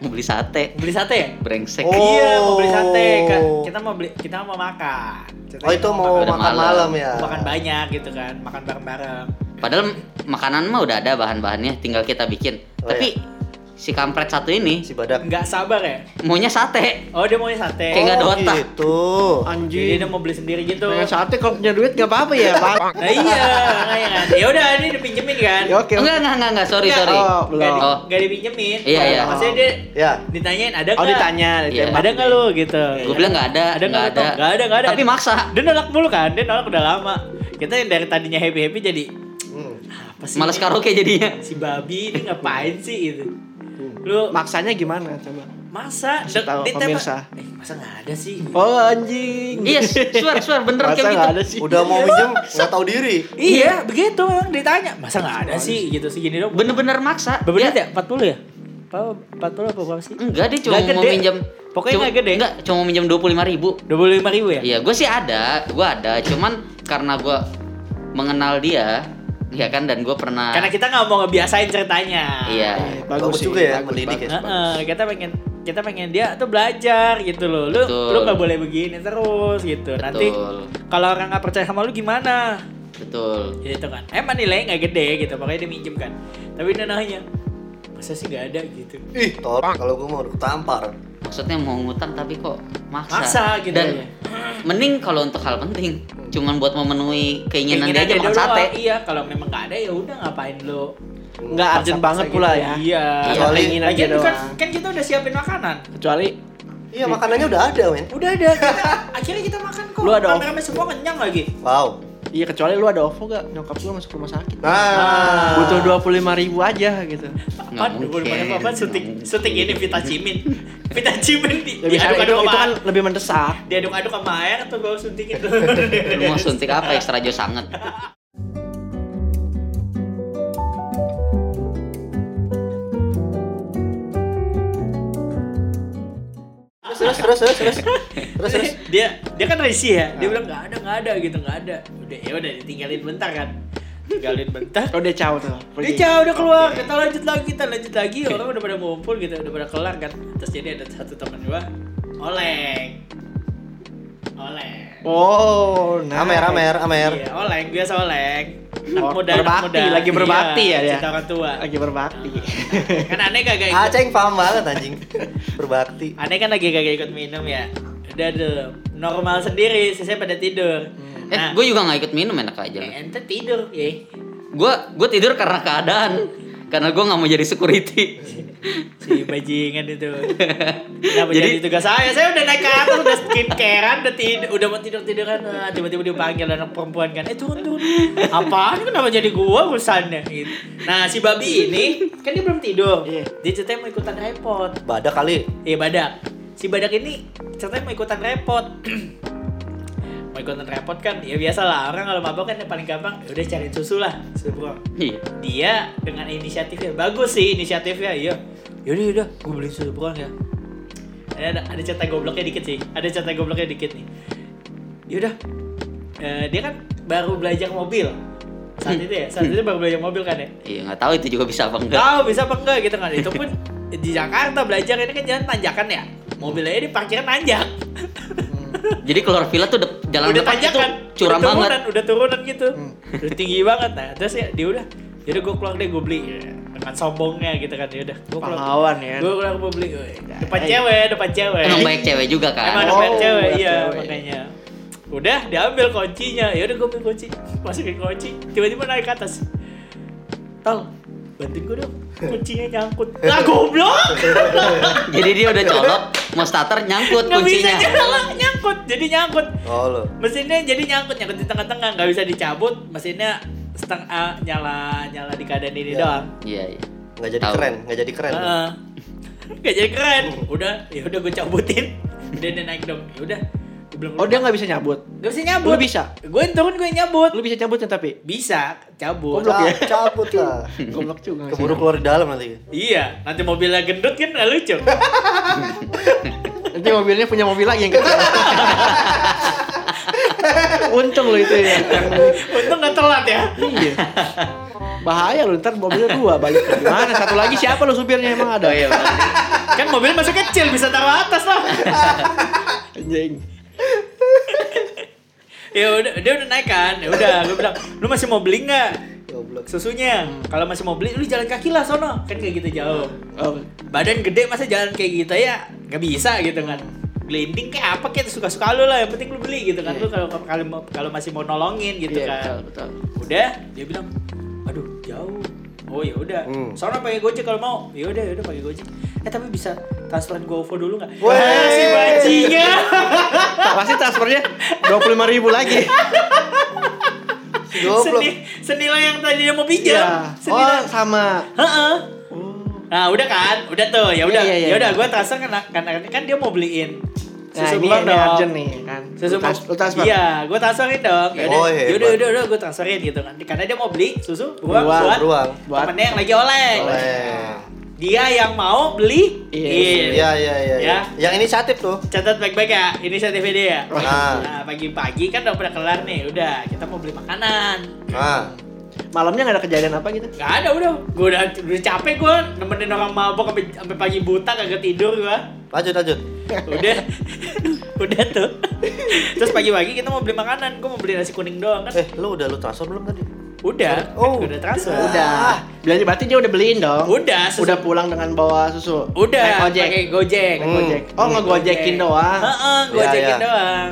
Speaker 1: Mau beli sate,
Speaker 3: beli sate ya
Speaker 1: brengsek.
Speaker 2: Oh.
Speaker 3: iya mau beli sate Ka- kita mau beli kita mau makan Ceritanya
Speaker 2: Oh, itu mau
Speaker 1: Udah
Speaker 2: makan
Speaker 1: malam.
Speaker 2: malam ya.
Speaker 3: makan banyak gitu kan makan bareng-bareng
Speaker 1: Padahal makanan mah udah ada bahan-bahannya, tinggal kita bikin.
Speaker 2: Oh,
Speaker 4: iya.
Speaker 1: Tapi si kampret satu ini
Speaker 2: Si badak.
Speaker 3: nggak sabar ya
Speaker 1: maunya sate.
Speaker 3: oh dia maunya sate
Speaker 1: Kayak nggak ada
Speaker 2: Oh,
Speaker 1: otak.
Speaker 2: Gitu.
Speaker 3: jadi dia
Speaker 4: Anjing.
Speaker 3: mau beli sendiri gitu
Speaker 4: Pengen sate kalau punya duit nggak apa-apa ya, Bang.
Speaker 3: nah iya makanya kan ya udah ini dipinjemin kan
Speaker 4: Ya, Oke.
Speaker 1: Enggak, enggak, enggak, enggak, sorry,
Speaker 3: Enggak.
Speaker 1: sorry.
Speaker 4: Oh,
Speaker 3: nggak
Speaker 4: belum.
Speaker 3: di,
Speaker 1: Oh.
Speaker 3: nggak dipinjemin
Speaker 1: Iya, iya.
Speaker 3: maksudnya dia
Speaker 2: Ya.
Speaker 3: ditanyain ada
Speaker 4: Oh
Speaker 3: nggak?
Speaker 4: ditanya,
Speaker 1: Iya.
Speaker 4: ditembak.
Speaker 3: ada nggak lu gitu
Speaker 1: Gue bilang nggak ada,
Speaker 3: Ada
Speaker 1: nggak
Speaker 3: nggak, Tom? Nggak ada, nggak ada.
Speaker 1: Tapi maksa,
Speaker 3: dia nolak mulu kan dia nolak udah lama kita yang dari tadinya happy happy jadi
Speaker 2: Hmm.
Speaker 3: apa sih
Speaker 1: males
Speaker 3: ini?
Speaker 1: karaoke jadinya.
Speaker 3: si babi ini ngapain sih itu lu
Speaker 4: Maksanya gimana coba?
Speaker 3: masa dek-
Speaker 4: Kasih Hmm. tahu
Speaker 3: ditembak-
Speaker 4: pemirsa.
Speaker 3: eh, masa nggak ada sih
Speaker 4: Oh anjing.
Speaker 1: Iya, swear, swear, bener
Speaker 4: Masa
Speaker 1: kayak
Speaker 4: nggak
Speaker 1: gitu.
Speaker 4: ada sih?
Speaker 2: Udah mau minjem nggak tahu diri.
Speaker 3: iya begitu emang ditanya masa nggak ada sih gitu sih gini dong
Speaker 1: Bener-bener maksa.
Speaker 3: berapa
Speaker 1: Dia-
Speaker 3: menit ya 40 ya apa 40 apa berapa sih
Speaker 1: Enggak, dia cuma
Speaker 3: Nggak
Speaker 1: mau
Speaker 3: gede.
Speaker 1: minjem.
Speaker 3: Pokoknya
Speaker 1: cuma-
Speaker 3: nggak gede.
Speaker 1: Enggak, cuma mau minjem 25 ribu.
Speaker 3: dua puluh lima ribu ya
Speaker 1: Iya, gue sih ada, gue ada. Cuman karena gue mengenal dia, ya kan, dan gue pernah.
Speaker 3: karena kita nggak mau ngebiasain ceritanya
Speaker 1: Iya.
Speaker 2: Bagus
Speaker 4: sih,
Speaker 2: juga ya,
Speaker 4: bagus,
Speaker 2: mendidik ya.
Speaker 4: bagus.
Speaker 3: Heeh, kita pengen kita pengen dia tuh belajar gitu loh. Lu
Speaker 1: Betul.
Speaker 3: lu nggak boleh begini terus gitu. Nanti
Speaker 1: Betul.
Speaker 3: kalau orang nggak percaya sama lu gimana?
Speaker 1: Betul.
Speaker 3: Gitu kan. Emang nilainya nggak gede gitu, makanya dia minjem kan. Tapi dia nanya, masa sih nggak ada gitu?
Speaker 2: Ih, tolong kalau gue mau udah tampar.
Speaker 1: Maksudnya mau ngutang tapi kok maksa.
Speaker 3: Maksa gitu
Speaker 1: Dan
Speaker 3: ya.
Speaker 1: mending kalau untuk hal penting, cuman buat memenuhi keinginan, dia aja
Speaker 3: dia
Speaker 1: makan
Speaker 3: doang.
Speaker 1: sate.
Speaker 3: Iya, kalau memang nggak ada ya udah ngapain lu?
Speaker 4: Nggak urgent
Speaker 3: Paksa-paksa
Speaker 4: banget pula ya.
Speaker 3: Iya.
Speaker 2: Kecuali-
Speaker 4: keinginan
Speaker 3: Lagian
Speaker 4: aja
Speaker 3: bukan,
Speaker 4: doang.
Speaker 3: kan kita udah siapin makanan.
Speaker 4: Kecuali
Speaker 2: Iya, makanannya udah ada, men.
Speaker 3: Udah ada. Kita, akhirnya kita makan kok.
Speaker 4: Lu ada
Speaker 3: Makan rame semua kenyang lagi.
Speaker 2: Wow.
Speaker 4: Iya kecuali lu ada OVO gak? Nyokap gua masuk rumah sakit
Speaker 2: Nah,
Speaker 4: Butuh 25 ribu aja gitu
Speaker 1: Nggak
Speaker 3: Apaan?
Speaker 1: mungkin.
Speaker 3: Boleh apa? Syuting,
Speaker 1: Nggak
Speaker 3: syuting ini Vita Cimin. Vita Cimin di,
Speaker 4: Ya bisa itu,
Speaker 3: diaduk-aduk
Speaker 4: itu
Speaker 3: sama
Speaker 4: kan lebih mendesak
Speaker 3: diaduk-aduk sama air tuh gue suntikin dulu.
Speaker 1: Lu mau suntik apa ekstra jauh sangat?
Speaker 2: terus terus terus terus terus terus terus.
Speaker 3: dia dia kan resi ya.
Speaker 4: Nah.
Speaker 3: Dia bilang nggak ada, nggak ada gitu, nggak ada. Udah ya udah ditinggalin bentar kan. Tinggalin bentar.
Speaker 4: Oh dia caw tuh
Speaker 3: Dia
Speaker 4: pergi.
Speaker 3: jauh udah keluar, kita lanjut lagi, kita lanjut lagi. Orang udah pada ngumpul gitu, udah pada kelar kan. Terus jadi ada satu teman gua, oleng, oleng.
Speaker 4: Oh nah
Speaker 2: Amer, Amer, Amer.
Speaker 3: Iya, oleng biasa oleng. Anak
Speaker 4: Oh,
Speaker 3: muda, anak
Speaker 4: berbakti,
Speaker 3: muda.
Speaker 4: lagi berbakti
Speaker 3: Iya,
Speaker 4: ya dia.
Speaker 3: Cinta orang tua.
Speaker 4: Lagi berbakti
Speaker 3: kan aneh kagak ikut
Speaker 2: Aceng Ah, paham banget anjing. Berbakti.
Speaker 3: aneh kan lagi kagak ikut minum ya udah tuh normal sendiri sisanya pada tidur
Speaker 1: Eh,
Speaker 3: nah
Speaker 1: gue juga nggak ikut minum enak aja.
Speaker 3: eh, ente tidur ya
Speaker 1: Gue gue tidur karena keadaan, karena gue nggak mau jadi security.
Speaker 3: si bajingan itu kenapa jadi,
Speaker 1: Jadi-
Speaker 3: tugas saya saya udah naik ke atas udah skincarean udah tidur udah mau tidur tiduran nah, tiba-tiba dipanggil anak perempuan kan eh turun turun apaan kenapa jadi gua urusannya gitu nah si babi ini kan dia belum tidur
Speaker 4: Iya.
Speaker 3: dia ceritanya mau ikutan repot
Speaker 2: Badak kali.
Speaker 3: Iya badak. Si badak ini ceritanya mau ikutan repot. mau ikutan repot kan ya biasa lah orang kalau mabok kan yang paling gampang "Ya udah cariin susu lah susu buang.
Speaker 1: Iya.
Speaker 3: Dia dengan inisiatifnya bagus sih inisiatifnya iya. Yaudah yaudah gue beliin susu buang ya. Eh, Ada ada, ada cerita gobloknya dikit sih. Ada cerita gobloknya dikit nih. Yaudah Eh, dia kan baru belajar mobil saat itu ya saat itu baru belajar mobil kan ya
Speaker 1: Iya nggak tahu itu juga bisa apa enggak.
Speaker 3: tahu bisa apa enggak gitu kan itu pun di Jakarta belajar ini kan jalan tanjakan ya mobilnya di parkiran nanjak
Speaker 1: Jadi keluar villa tuh dep- jalan
Speaker 3: udah
Speaker 1: depan itu
Speaker 3: tanjakan
Speaker 1: curam
Speaker 3: udah turunan,
Speaker 1: banget.
Speaker 3: udah turunan gitu
Speaker 4: Hmm.
Speaker 3: udah tinggi banget nah terus ya dia udah jadi gue keluar deh gue beli dengan sombongnya gitu kan ya udah gue keluar
Speaker 4: Pahlawan ya
Speaker 3: gue keluar gue beli Weh, depan cewek depan cewek
Speaker 1: Emang baik cewek juga
Speaker 3: Iya. Emang
Speaker 1: kan.
Speaker 3: ada
Speaker 4: Oh,
Speaker 3: banyak cewek,
Speaker 4: banyak
Speaker 3: iya
Speaker 4: cewek.
Speaker 3: makanya. Udah diambil kuncinya, ya udah gue ambil kunci, masukin kunci, tiba-tiba naik ke atas. Tol, bantuin gue dong. kuncinya nyangkut lah goblok
Speaker 1: Jadi dia udah colok, mau starter nyangkut
Speaker 3: nggak bisa
Speaker 1: kuncinya.
Speaker 3: nyala nyangkut jadi nyangkut
Speaker 2: Oh lo.
Speaker 3: mesinnya jadi nyangkut nyangkut di tengah-tengah nggak bisa dicabut mesinnya setengah nyala nyala di keadaan ini
Speaker 2: Ya.
Speaker 3: doang
Speaker 1: Iya, iya.
Speaker 2: Nggak jadi
Speaker 1: Tahu.
Speaker 2: keren, nggak jadi keren.
Speaker 3: Heeh. Nggak jadi keren udah ya udah gue cabutin udah dia naik dong ya udah gue bilang
Speaker 4: Oh dia nggak bisa nyabut.
Speaker 3: Gak bisa nyabut
Speaker 4: Lu bisa?
Speaker 3: gue turun gue nyabut
Speaker 4: Lu bisa cabutnya tapi
Speaker 3: bisa cabut
Speaker 4: Goblok.
Speaker 2: Ca-
Speaker 4: ya.
Speaker 2: Cabut lah.
Speaker 4: goblok juga. nggak sih?
Speaker 2: Keburu keluar di dalam nanti.
Speaker 3: iya nanti mobilnya gendut kan nggak lucu
Speaker 4: Nanti mobilnya punya mobil lagi yang kecil. Untung lo itu ya.
Speaker 3: untung nggak telat ya
Speaker 4: Iya. Bahaya lu ntar mobilnya dua balik gimana? Satu lagi siapa lu supirnya emang ada?
Speaker 1: Oh iya. bener.
Speaker 3: kan mobil masih kecil bisa taruh atas lah
Speaker 4: Anjing.
Speaker 3: ya udah dia udah naik kan ya udah gue bilang lu masih mau beli nggak
Speaker 2: Goblok.
Speaker 3: susunya kalau masih mau beli lu jalan kaki lah sono kan kayak gitu jauh
Speaker 4: Oh,
Speaker 3: badan gede masa jalan kayak gitu ya nggak bisa gitu kan glinding kayak apa kayak suka suka lu lah yang penting lu beli gitu kan lu kalau kalau mau- kalau masih mau nolongin gitu
Speaker 1: Iya,
Speaker 3: kan
Speaker 1: betul, betul.
Speaker 3: udah dia bilang aduh jauh oh ya udah
Speaker 2: Hmm.
Speaker 3: soalnya pakai gojek kalau mau ya udah ya udah pakai gojek eh tapi bisa transferan govo dulu nggak
Speaker 2: Weh.
Speaker 3: Ah, si bajingan
Speaker 4: pasti transfernya dua puluh lima ribu lagi.
Speaker 2: Si Goblok.
Speaker 3: Seni- senilai yang tadi dia mau pinjam
Speaker 4: Iya. Oh
Speaker 3: senilai
Speaker 4: sama.
Speaker 3: Heeh. Nah, udah kan? Udah tuh. Ya udah.
Speaker 4: Iya, iya, iya.
Speaker 3: ya udah gua transfer kan kan kan dia mau beliin.
Speaker 4: Nah,
Speaker 3: Susu
Speaker 4: ini,
Speaker 3: belum
Speaker 4: ini
Speaker 3: dong.
Speaker 4: urgent nih kan.
Speaker 3: Susu
Speaker 4: Lu trans-
Speaker 3: belum-
Speaker 4: lu transfer. iya,
Speaker 3: Iya, gua transferin dong. Ya udah.
Speaker 2: Oh, hebat.
Speaker 3: ya udah, ya udah, ya udah, gua transferin gitu kan. Karena dia mau beli susu gua
Speaker 4: Beruang,
Speaker 3: buat
Speaker 2: beruang.
Speaker 4: Buat-
Speaker 3: temennya yang lagi oleng.
Speaker 2: Oleh.
Speaker 3: Dia yang mau beli.
Speaker 4: Iya.
Speaker 2: Iya iya iya.
Speaker 3: Ya.
Speaker 2: iya. Yang inisiatif tuh.
Speaker 3: Catat baik-baik ya, inisiatif dia.
Speaker 2: Nah.
Speaker 3: Nah, pagi-pagi kan udah pada kelar nih, udah kita mau beli makanan.
Speaker 2: Nah.
Speaker 4: Malamnya nggak ada kejadian apa gitu?
Speaker 3: Gak ada udah, gue udah, udah capek gue nemenin orang mabok sampai- sampai pagi buta kagak tidur gua.
Speaker 2: Lanjut lanjut.
Speaker 3: udah udah tuh terus pagi-pagi kita mau beli makanan gue mau beli nasi kuning doang kan
Speaker 2: Eh, lu udah lu transfer belum tadi?
Speaker 3: udah
Speaker 2: Oh,
Speaker 3: kan udah transfer
Speaker 4: Udah. Belanja berarti dia udah beliin dong.
Speaker 3: Udah, susu.
Speaker 4: Udah pulang dengan bawa susu.
Speaker 3: udah
Speaker 4: Naik ojek.
Speaker 3: pakai gojek
Speaker 4: Naik gojek. Oh ngegojekin doang.
Speaker 3: Heeh, gojekin
Speaker 2: Iya, iya.
Speaker 3: doang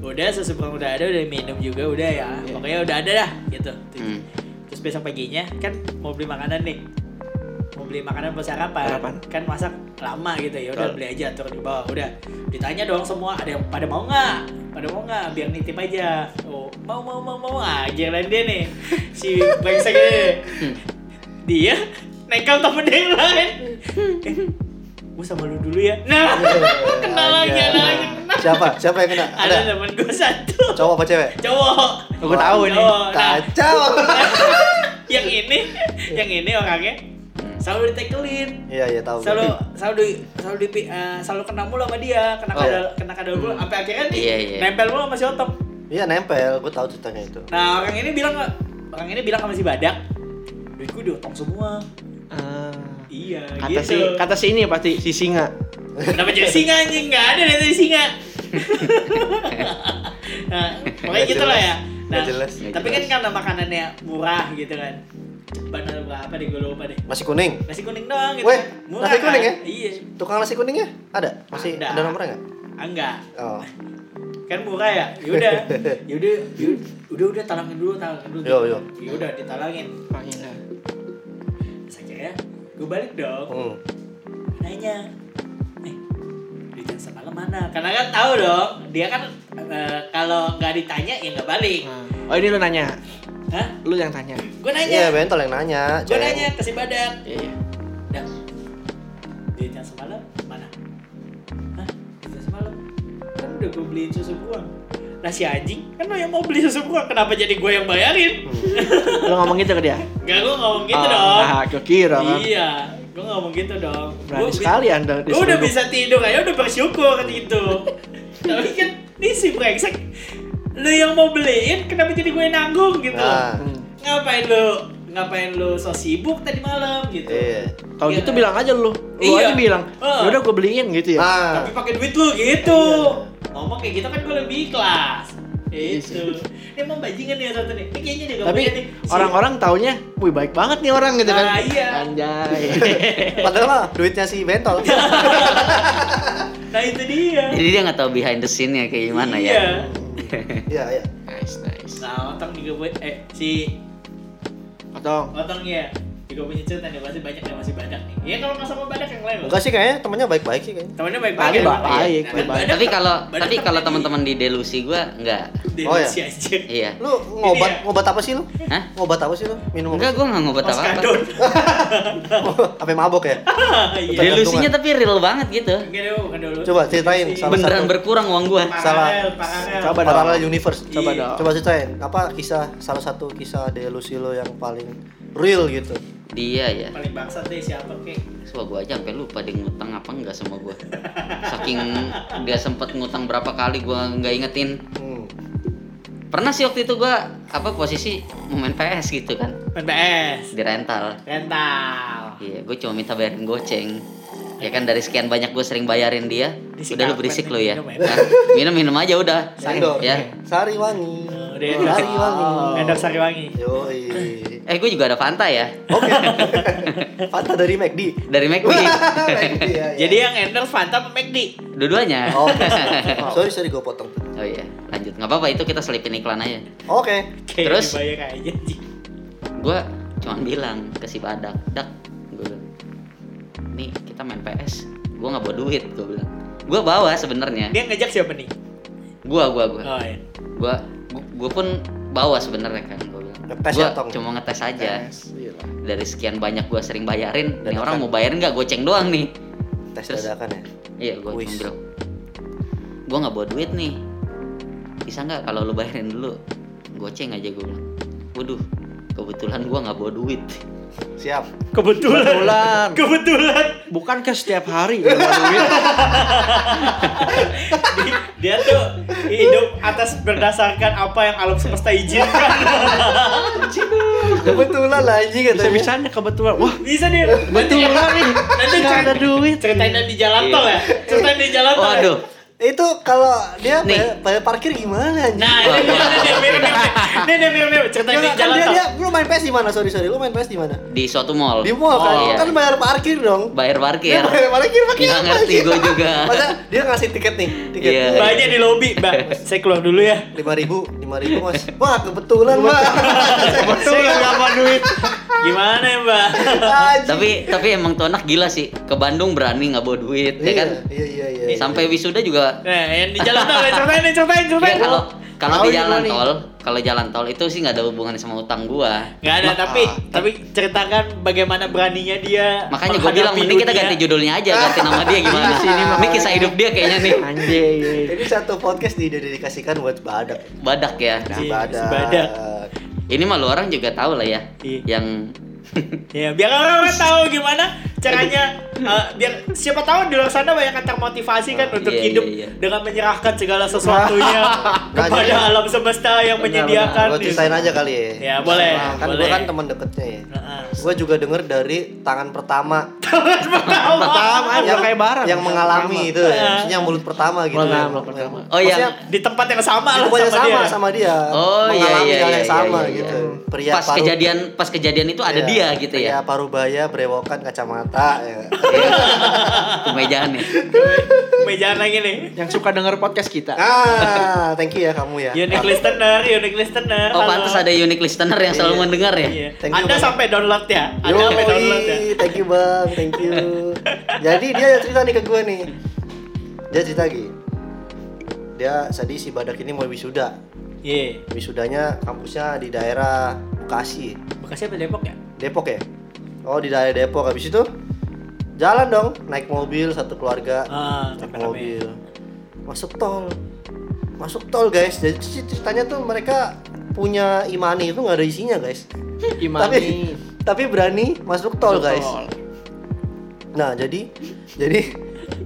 Speaker 3: udah susu kurang udah ada udah minum juga udah ya pokoknya udah ada dah gitu
Speaker 1: Hmm.
Speaker 3: terus besok paginya kan mau beli makanan nih mau beli makanan buat sarapan
Speaker 4: Sarapan.
Speaker 3: kan masak lama gitu ya udah
Speaker 2: Betul.
Speaker 3: beli aja turun di bawah udah ditanya dong semua ada yang pada mau nggak pada mau nggak biar nitip aja oh mau mau mau mau aja yang lain dia nih si brengsek ini dia nekel temen dia yang lain eh, gue sama lu dulu ya nah kena lagi
Speaker 2: Ada.
Speaker 3: ada lagi kena
Speaker 2: Siapa? Siapa yang kena?
Speaker 3: ada
Speaker 2: Ada.
Speaker 3: temen gue satu
Speaker 2: Cowok apa cewek?
Speaker 3: cowok
Speaker 4: Gue tahu nih.
Speaker 3: Cowok. Nah,
Speaker 2: Kacau.
Speaker 3: yang ini yang ini orangnya selalu ditekelin
Speaker 2: Iya iya tahu.
Speaker 3: selalu selalu di, selalu di, eh, selalu kena mulu sama dia kena
Speaker 2: Oh.
Speaker 3: kadal kena kadal mulu sampai akhirnya nih
Speaker 1: Iya, iya.
Speaker 3: nempel mulu sama si otong
Speaker 2: Iya nempel, gue tahu ceritanya itu.
Speaker 3: nah orang ini bilang orang ini bilang sama si badak duitku diotong semua
Speaker 4: Ah.
Speaker 3: iya
Speaker 4: Kata si
Speaker 3: gitu
Speaker 4: kata si ini pasti si singa.
Speaker 3: kenapa jadi singa anjing nggak ada dari tadi singa nah pokoknya
Speaker 2: Nggak
Speaker 3: gitu lah
Speaker 2: jelas.
Speaker 3: ya nah
Speaker 2: Nggak jelas.
Speaker 3: tapi kan karena makanannya murah gitu kan bandar berapa deh gue lupa deh
Speaker 2: Masih kuning.
Speaker 3: nasi kuning doang gitu
Speaker 2: Weh,
Speaker 3: murah
Speaker 2: nasi kuning
Speaker 3: kan?
Speaker 2: ya?
Speaker 3: iya
Speaker 2: Tukang nasi kuningnya ada? Masih
Speaker 3: Ada.
Speaker 2: ada, nomornya nggak?
Speaker 3: ah, enggak
Speaker 2: Oh.
Speaker 3: kan murah ya yaudah yaudah yaudah udah udah talangin dulu talangin dulu
Speaker 2: Yo, yo.
Speaker 3: yaudah ditalangin
Speaker 4: Oh, iya.
Speaker 3: Terus akhirnya gue balik dong
Speaker 2: Hmm.
Speaker 3: nanya eh duitnya semalam mana karena kan tahu dong dia kan eh, kalau nggak ditanya ya nggak balik
Speaker 2: Hmm.
Speaker 4: Oh ini lu nanya.
Speaker 3: hah
Speaker 4: Lu yang tanya.
Speaker 3: gue nanya
Speaker 2: Iya, bentol yang nanya.
Speaker 3: gue
Speaker 2: Ceng.
Speaker 3: nanya ke si badan
Speaker 1: Iya, iya.
Speaker 3: Dang, duit yang semalam mana? Hah? Duit yang semalam? Kan udah gue beliin susu buang. Nah si anjing, kan lo yang mau beli susu buang, kenapa jadi gue yang bayarin?
Speaker 4: Lu ngomong gitu ke dia?
Speaker 3: Gak, gue ngomong gitu
Speaker 4: Oh,
Speaker 3: dong.
Speaker 4: Nah, gue kira kan.
Speaker 3: Iya, gue ngomong gitu dong.
Speaker 4: Berani
Speaker 3: Gua bi-
Speaker 4: sekali ya Anda
Speaker 3: Gue udah
Speaker 4: diseruduk.
Speaker 3: bisa tidur aja udah bersyukur gitu. Tapi kan, ini si brengsek, lo yang mau beliin, kenapa jadi gue yang nanggung gitu?
Speaker 2: Nah,
Speaker 4: Hmm.
Speaker 3: Ngapain lo, ngapain lo so sibuk tadi malam gitu?
Speaker 2: iya.
Speaker 4: Kalau
Speaker 3: Iya.
Speaker 4: gitu bilang aja lu. Lu
Speaker 3: Iya.
Speaker 4: aja bilang.
Speaker 3: Ah.
Speaker 4: Ya udah gue beliin gitu ya.
Speaker 2: Nah,
Speaker 3: tapi pakai duit lu gitu ngomong kayak gitu kan gue lebih ikhlas itu ini emang bajingan nih yang satu nih ini kayaknya dia nggak
Speaker 4: Tapi
Speaker 3: punya nih. Si-
Speaker 4: orang-orang taunya, wih baik banget nih orang gitu kan.
Speaker 3: Ah, iya.
Speaker 4: Anjay.
Speaker 2: padahal mah duitnya si bentol.
Speaker 3: nah itu dia
Speaker 1: Jadi dia nggak tahu behind the scene-nya kayak gimana
Speaker 3: iya.
Speaker 1: ya.
Speaker 2: Iya, iya.
Speaker 4: nice, nice.
Speaker 3: nah otong juga buat eh si
Speaker 4: Otong.
Speaker 3: otong ya Ya, gue punya cerita nih, pasti banyak nih, masih banyak nih. Ya kalau nggak sama banyak yang lain lah.
Speaker 2: Enggak sih kayaknya temennya baik-baik sih kayaknya.
Speaker 3: Temennya
Speaker 4: Tadi
Speaker 3: baik-baik.
Speaker 4: baik, baik,
Speaker 3: Kan
Speaker 4: baik.
Speaker 3: badak-
Speaker 1: tapi kalau
Speaker 3: badak
Speaker 1: tapi kalau
Speaker 3: temennya
Speaker 1: teman-teman di delusi gua enggak
Speaker 3: di-
Speaker 2: Oh, ya?
Speaker 3: Indonesia aja.
Speaker 1: iya
Speaker 2: Lu ngobat
Speaker 3: ya.
Speaker 2: ngobat apa sih lu?
Speaker 1: Hah?
Speaker 2: Ngobat apa sih lu? Minum
Speaker 1: enggak gua nggak ngobat apa apa
Speaker 3: Oskadon.
Speaker 2: apa mabok ya?
Speaker 3: Iya.
Speaker 2: Betul.
Speaker 1: delusinya tapi real banget gitu
Speaker 3: Enggak dulu, bukan dulu.
Speaker 2: Coba ceritain salah
Speaker 1: beneran
Speaker 2: satu
Speaker 1: berkurang uang gua
Speaker 2: salah.
Speaker 3: Paralel, paralel.
Speaker 4: Coba dong.
Speaker 2: paralel universe.
Speaker 4: Coba
Speaker 3: Iya.
Speaker 4: dong.
Speaker 2: Coba ceritain apa kisah salah satu kisah delusi lo yang paling real gitu.
Speaker 1: dia ya
Speaker 3: Paling bangsat deh siapa kek.
Speaker 1: Wah gua aja sampai lupa dia ngutang apa enggak sama gua Saking dia sempet ngutang berapa kali gua nggak ingetin
Speaker 2: Hmm.
Speaker 1: Pernah sih waktu itu gua apa posisi mau main PS gitu kan
Speaker 3: PNS.
Speaker 1: Di rental
Speaker 3: Rental.
Speaker 1: Iya gua cuma minta bayarin goceng Ya kan dari sekian banyak gua sering bayarin dia
Speaker 3: Risik
Speaker 1: Udah lu
Speaker 3: apa
Speaker 1: berisik
Speaker 3: nih?
Speaker 1: lu ya
Speaker 3: Minum ya?
Speaker 1: Minum-minum aja udah
Speaker 2: Sendor.
Speaker 1: ya.
Speaker 2: Sari wangi.
Speaker 3: Oh, Udah endorse.
Speaker 2: Sari wangi.
Speaker 3: Endorse Sariwangi.
Speaker 2: Yoi.
Speaker 1: Eh gua juga ada Fanta ya
Speaker 2: Oke. Fanta dari McD.
Speaker 1: Dari McD
Speaker 2: McD ya. ya.
Speaker 3: Jadi yang endorse Fanta sama McD.
Speaker 1: Dua-duanya
Speaker 2: Oh, oke. sorry sorry gue potong.
Speaker 1: Oh iya lanjut nggak apa-apa itu kita selipin iklan aja
Speaker 2: Oke.
Speaker 3: Kayak
Speaker 1: Terus?
Speaker 3: dibayar aja anjing.
Speaker 1: gua cuma bilang ke si badak dak gue bilang nih kita main PS gua nggak bawa duit gue bilang gua bawa sebenarnya
Speaker 3: Dia ngejak siapa nih?
Speaker 1: gua gua gua
Speaker 3: Oh iya.
Speaker 1: gua gua pun bawa sebenarnya kan gue bilang
Speaker 2: Ngetes
Speaker 1: Gua
Speaker 2: ya, Tong?
Speaker 1: cuma ngetes aja
Speaker 4: Yes, iya lah.
Speaker 1: dari sekian banyak gua sering bayarin
Speaker 2: Dan
Speaker 1: nih orang
Speaker 2: akan-
Speaker 1: mau bayarin nggak goceng doang nih
Speaker 2: Tes
Speaker 1: Terus?
Speaker 2: dadakan ya.
Speaker 1: iya gua cuma
Speaker 2: Wis.
Speaker 1: bilang gua nggak bawa duit nih bisa nggak kalau lu bayarin dulu goceng aja gue bilang waduh kebetulan gua nggak bawa duit
Speaker 2: Siap.
Speaker 3: Kebetulan.
Speaker 4: Kebetulan.
Speaker 3: Kebetulan.
Speaker 4: Bukan ke setiap hari dia bawa duit.
Speaker 3: Gitu. Di- Dia tuh hidup atas berdasarkan apa yang alam semesta izinkan.
Speaker 2: Kebetulan lah anjing katanya.
Speaker 4: Bisa-bisanya kebetulan. Wah,
Speaker 3: Bisa nih.
Speaker 4: kebetulan nih.
Speaker 3: Nanti
Speaker 4: Nggak
Speaker 3: cerita-
Speaker 4: ada duit.
Speaker 3: Ceritain yang di jalan tol ya. Ceritain di jalan tol. ya?
Speaker 1: waduh
Speaker 2: Itu kalau dia
Speaker 1: Nih.
Speaker 2: bayar- bayar parkir gimana anjing?
Speaker 3: Nah, ini dia ini dia mirip mirip. Ini dia mirip mirip. Ceritain di
Speaker 2: Enggak, kan
Speaker 3: jalan
Speaker 2: dia,
Speaker 3: tol.
Speaker 2: dia, lu main PS di mana? Sorry, sorry, lu main PS di mana?
Speaker 1: di suatu mall
Speaker 2: Di mall kan?
Speaker 1: Oh, iya.
Speaker 2: Kan bayar parkir dong.
Speaker 1: bayar
Speaker 2: Dia
Speaker 1: parkir
Speaker 2: bayar parkir Iya, pakai
Speaker 1: Nggak
Speaker 2: apa
Speaker 1: ngerti
Speaker 2: anjing?
Speaker 1: gua juga.
Speaker 2: Masa dia ngasih tiket nih, tiket
Speaker 1: Iya.
Speaker 3: Banyak di lobby, Mbak. Saya keluar dulu ya.
Speaker 2: lima ribu, lima ribu mas. Wah kebetulan mbak.
Speaker 4: Kebetulan nggak bawa duit.
Speaker 3: Gimana ya, Mbak?
Speaker 2: Anjing.
Speaker 1: tapi tapi emang tuh anak gila sih ke Bandung berani nggak bawa duit ya
Speaker 2: iya,
Speaker 1: kan
Speaker 2: iya, iya, iya.
Speaker 1: sampai wisuda juga
Speaker 3: Nah, yang di jalan tol, ya. ceritain, ya, ceritain,
Speaker 1: ya
Speaker 3: ceritain.
Speaker 1: kalau kalau
Speaker 4: Tahu
Speaker 1: di
Speaker 4: ini
Speaker 1: jalan
Speaker 4: nih.
Speaker 1: tol kalau jalan tol itu sih nggak ada hubungan sama utang gua
Speaker 3: Gak ada,
Speaker 2: Ma-
Speaker 3: tapi
Speaker 2: ah.
Speaker 3: tapi ceritakan bagaimana beraninya dia.
Speaker 1: makanya gua bilang
Speaker 3: menghadapi
Speaker 1: mending kita
Speaker 3: dunia.
Speaker 1: ganti judulnya aja ganti nama dia gimana
Speaker 4: Ini sih, ini
Speaker 1: ini
Speaker 4: makanya.
Speaker 1: kisah hidup dia kayaknya nih
Speaker 4: Anjay.
Speaker 2: Ini satu podcast didedikasikan buat badak.
Speaker 1: badak ya
Speaker 3: Iya, si
Speaker 2: badak.
Speaker 3: badak.
Speaker 1: ini mah lu orang juga tahu lah ya
Speaker 3: Iya.
Speaker 1: yang
Speaker 3: Ya, biar orang-orang tahu gimana caranya eh, biar siapa tahu di luar sana banyak yang termotivasi kan untuk
Speaker 1: iya,
Speaker 3: hidup
Speaker 1: iya, iya.
Speaker 3: dengan menyerahkan segala sesuatunya kepada
Speaker 2: jadi-
Speaker 3: alam semesta yang
Speaker 4: Benar,
Speaker 3: menyediakan.
Speaker 2: Gue
Speaker 3: gitu.
Speaker 2: ceritain aja kali ya.
Speaker 3: Ya, boleh,
Speaker 2: Nah, kan gue
Speaker 3: boleh.
Speaker 2: kan teman deketnya ya.
Speaker 3: Heeh.
Speaker 2: Gue juga denger dari tangan pertama
Speaker 3: Pertama.
Speaker 4: Pertama aja kayak barang.
Speaker 2: yang mengalami itu,
Speaker 3: Iya.
Speaker 2: ya. maksudnya mulut pertama gitu.
Speaker 4: Pertama,
Speaker 2: Yang-
Speaker 4: pertama.
Speaker 1: oh
Speaker 2: Maksudnya-
Speaker 1: yang
Speaker 3: di tempat yang sama lah
Speaker 2: Itu banyak
Speaker 3: sama,
Speaker 2: sama
Speaker 3: dia.
Speaker 2: sama dia.
Speaker 1: Oh, iya,
Speaker 2: mengalami
Speaker 1: iya,
Speaker 2: hal
Speaker 1: iya,
Speaker 2: yang
Speaker 1: iya,
Speaker 2: sama
Speaker 1: iya,
Speaker 2: gitu.
Speaker 1: iya.
Speaker 2: Pria
Speaker 1: pas
Speaker 2: paru-
Speaker 1: kejadian pas kejadian itu ada
Speaker 2: iya,
Speaker 1: dia gitu
Speaker 2: Pria
Speaker 1: ya Iya.
Speaker 2: parubaya, brewokan, kacamata. Ya.
Speaker 1: kemejaan nih
Speaker 3: Mejaan lagi nih.
Speaker 4: Yang suka denger podcast kita.
Speaker 2: ah, thank you ya kamu ya.
Speaker 3: Unique listener, unique listener.
Speaker 1: Iya. oh
Speaker 3: halo.
Speaker 1: pantas ada unique listener yang selalu
Speaker 2: Iya.
Speaker 1: mendengar ya
Speaker 3: Iya.
Speaker 2: Thank you
Speaker 3: Anda
Speaker 2: banyak.
Speaker 3: sampai download ya. Anda
Speaker 2: Yoi,
Speaker 3: sampai download ya.
Speaker 2: thank you bang, thank you. Jadi dia yang cerita nih ke gue nih. Dia cerita gini. Dia tadi si badak ini mau wisuda.
Speaker 3: Iya.
Speaker 2: Wisudanya kampusnya di daerah Bekasi,
Speaker 3: Bekasi apa Depok ya?
Speaker 2: Depok ya. Oh di daerah Depok. Habis itu jalan dong, naik mobil satu keluarga.
Speaker 3: Ah,
Speaker 2: naik
Speaker 3: rame-rame.
Speaker 2: mobil masuk tol masuk tol guys jadi c- ceritanya tuh mereka punya imani itu nggak ada isinya guys tapi
Speaker 4: Imani.
Speaker 2: tapi berani masuk tol guys nah jadi jadi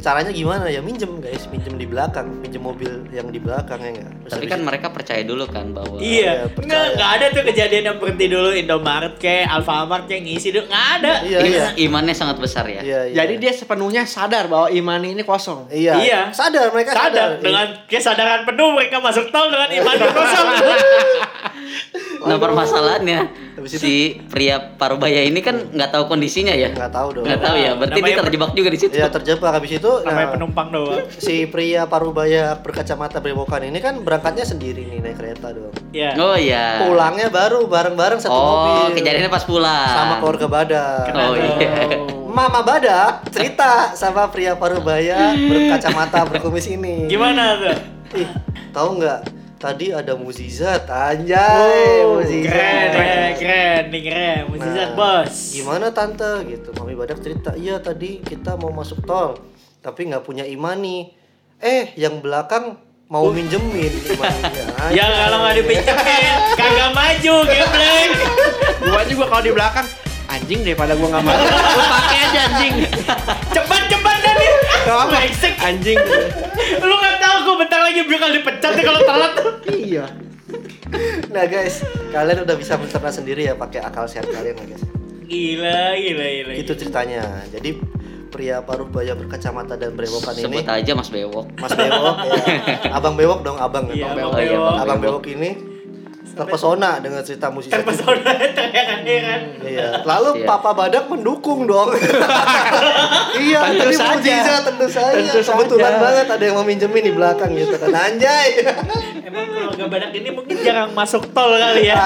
Speaker 2: caranya gimana ya minjem guys minjem di belakang minjem mobil yang di belakang ya nggak Terus
Speaker 1: tapi
Speaker 2: habis
Speaker 1: kan
Speaker 2: itu-
Speaker 1: mereka percaya dulu kan bahwa
Speaker 3: Iya,
Speaker 2: iya, percaya.
Speaker 3: nggak nggak ada tuh kejadian yang berhenti dulu Indomaret kayak Alfamart yang ngisi dulu nggak ada.
Speaker 2: iya
Speaker 1: Im-
Speaker 2: iya
Speaker 1: imannya sangat besar ya
Speaker 2: iya iya.
Speaker 4: Jadi dia sepenuhnya sadar bahwa Imani ini kosong.
Speaker 2: iya
Speaker 3: Iya.
Speaker 2: sadar mereka sadar, Iya.
Speaker 3: Sadar dengan kesadaran penuh mereka masuk tol dengan iman kosong.
Speaker 1: Nah, Nah, permasalahannya
Speaker 2: Habis itu-
Speaker 1: si pria Parubaya ini kan nggak tahu kondisinya ya.
Speaker 2: Iya, nggak tahu dong
Speaker 1: Nggak tahu ya. Berarti dia
Speaker 3: Namanya-
Speaker 1: terjebak juga di situ.
Speaker 2: ya terjebak habis itu
Speaker 3: namanya
Speaker 2: nah,
Speaker 3: penumpang doang
Speaker 2: si pria parubaya berkacamata brewokan ini kan berangkatnya sendiri nih naik kereta dong
Speaker 3: ya
Speaker 1: Oh iya.
Speaker 2: pulangnya baru bareng-bareng satu
Speaker 1: Oh,
Speaker 2: mobil
Speaker 1: kejadiannya pas pulang.
Speaker 2: sama keluarga badak
Speaker 3: Kenapa?
Speaker 1: Oh, iya.
Speaker 2: Mama Badak cerita sama pria parubaya berkacamata berkumis ini.
Speaker 3: gimana tuh
Speaker 2: Ih, tahu nggak? Tadi ada muzizat, anjay,
Speaker 3: Oh,
Speaker 2: muzizat.
Speaker 3: keren keren keren nih keren mukjizat
Speaker 2: Nah,
Speaker 3: bos
Speaker 2: Gimana tante gitu? Mami Badak cerita, iya tadi kita mau masuk tol, tapi nggak punya imani. Eh, yang belakang mau minjemin imaninya.
Speaker 3: Oh. ya kalau nggak dipinjemin kagak maju gebleng
Speaker 4: Gua juga kalau di belakang anjing daripada gua nggak mau. Gua pakai aja anjing.
Speaker 3: cepat cepat kan nih
Speaker 4: Gak apa
Speaker 3: Brengsek.
Speaker 4: anjing.
Speaker 3: lu nggak tahu gue bentar lagi bakal dipecat nih kalau telat
Speaker 4: Iya.
Speaker 2: Nah guys, kalian udah bisa mencerna sendiri ya pakai akal sehat kalian ya guys.
Speaker 3: gila gila gila
Speaker 2: Itu ceritanya. Jadi pria parubaya berkacamata dan brewokan ini
Speaker 1: Sebut aja Mas Bewok. Oh,
Speaker 2: Mas Bewok ya. Abang Bewok dong, abang. ya.
Speaker 3: Iya,
Speaker 2: abang,
Speaker 3: Abang
Speaker 2: Bewok.
Speaker 1: Bewok.
Speaker 2: Abang Bewok ini terpesona dengan cerita musisi.
Speaker 3: terpesona terheran-heran
Speaker 2: Iya. Lalu
Speaker 1: Iya.
Speaker 2: Papa Badak mendukung dong. iya,
Speaker 4: Tentu
Speaker 2: ini
Speaker 4: saja.
Speaker 2: mujizat, tentu saja.
Speaker 4: Tentu saja.
Speaker 2: Kebetulan banget ada yang mau minjemin di belakang gitu kan. Anjay.
Speaker 3: emang keluarga badak ini mungkin jarang masuk tol kali ya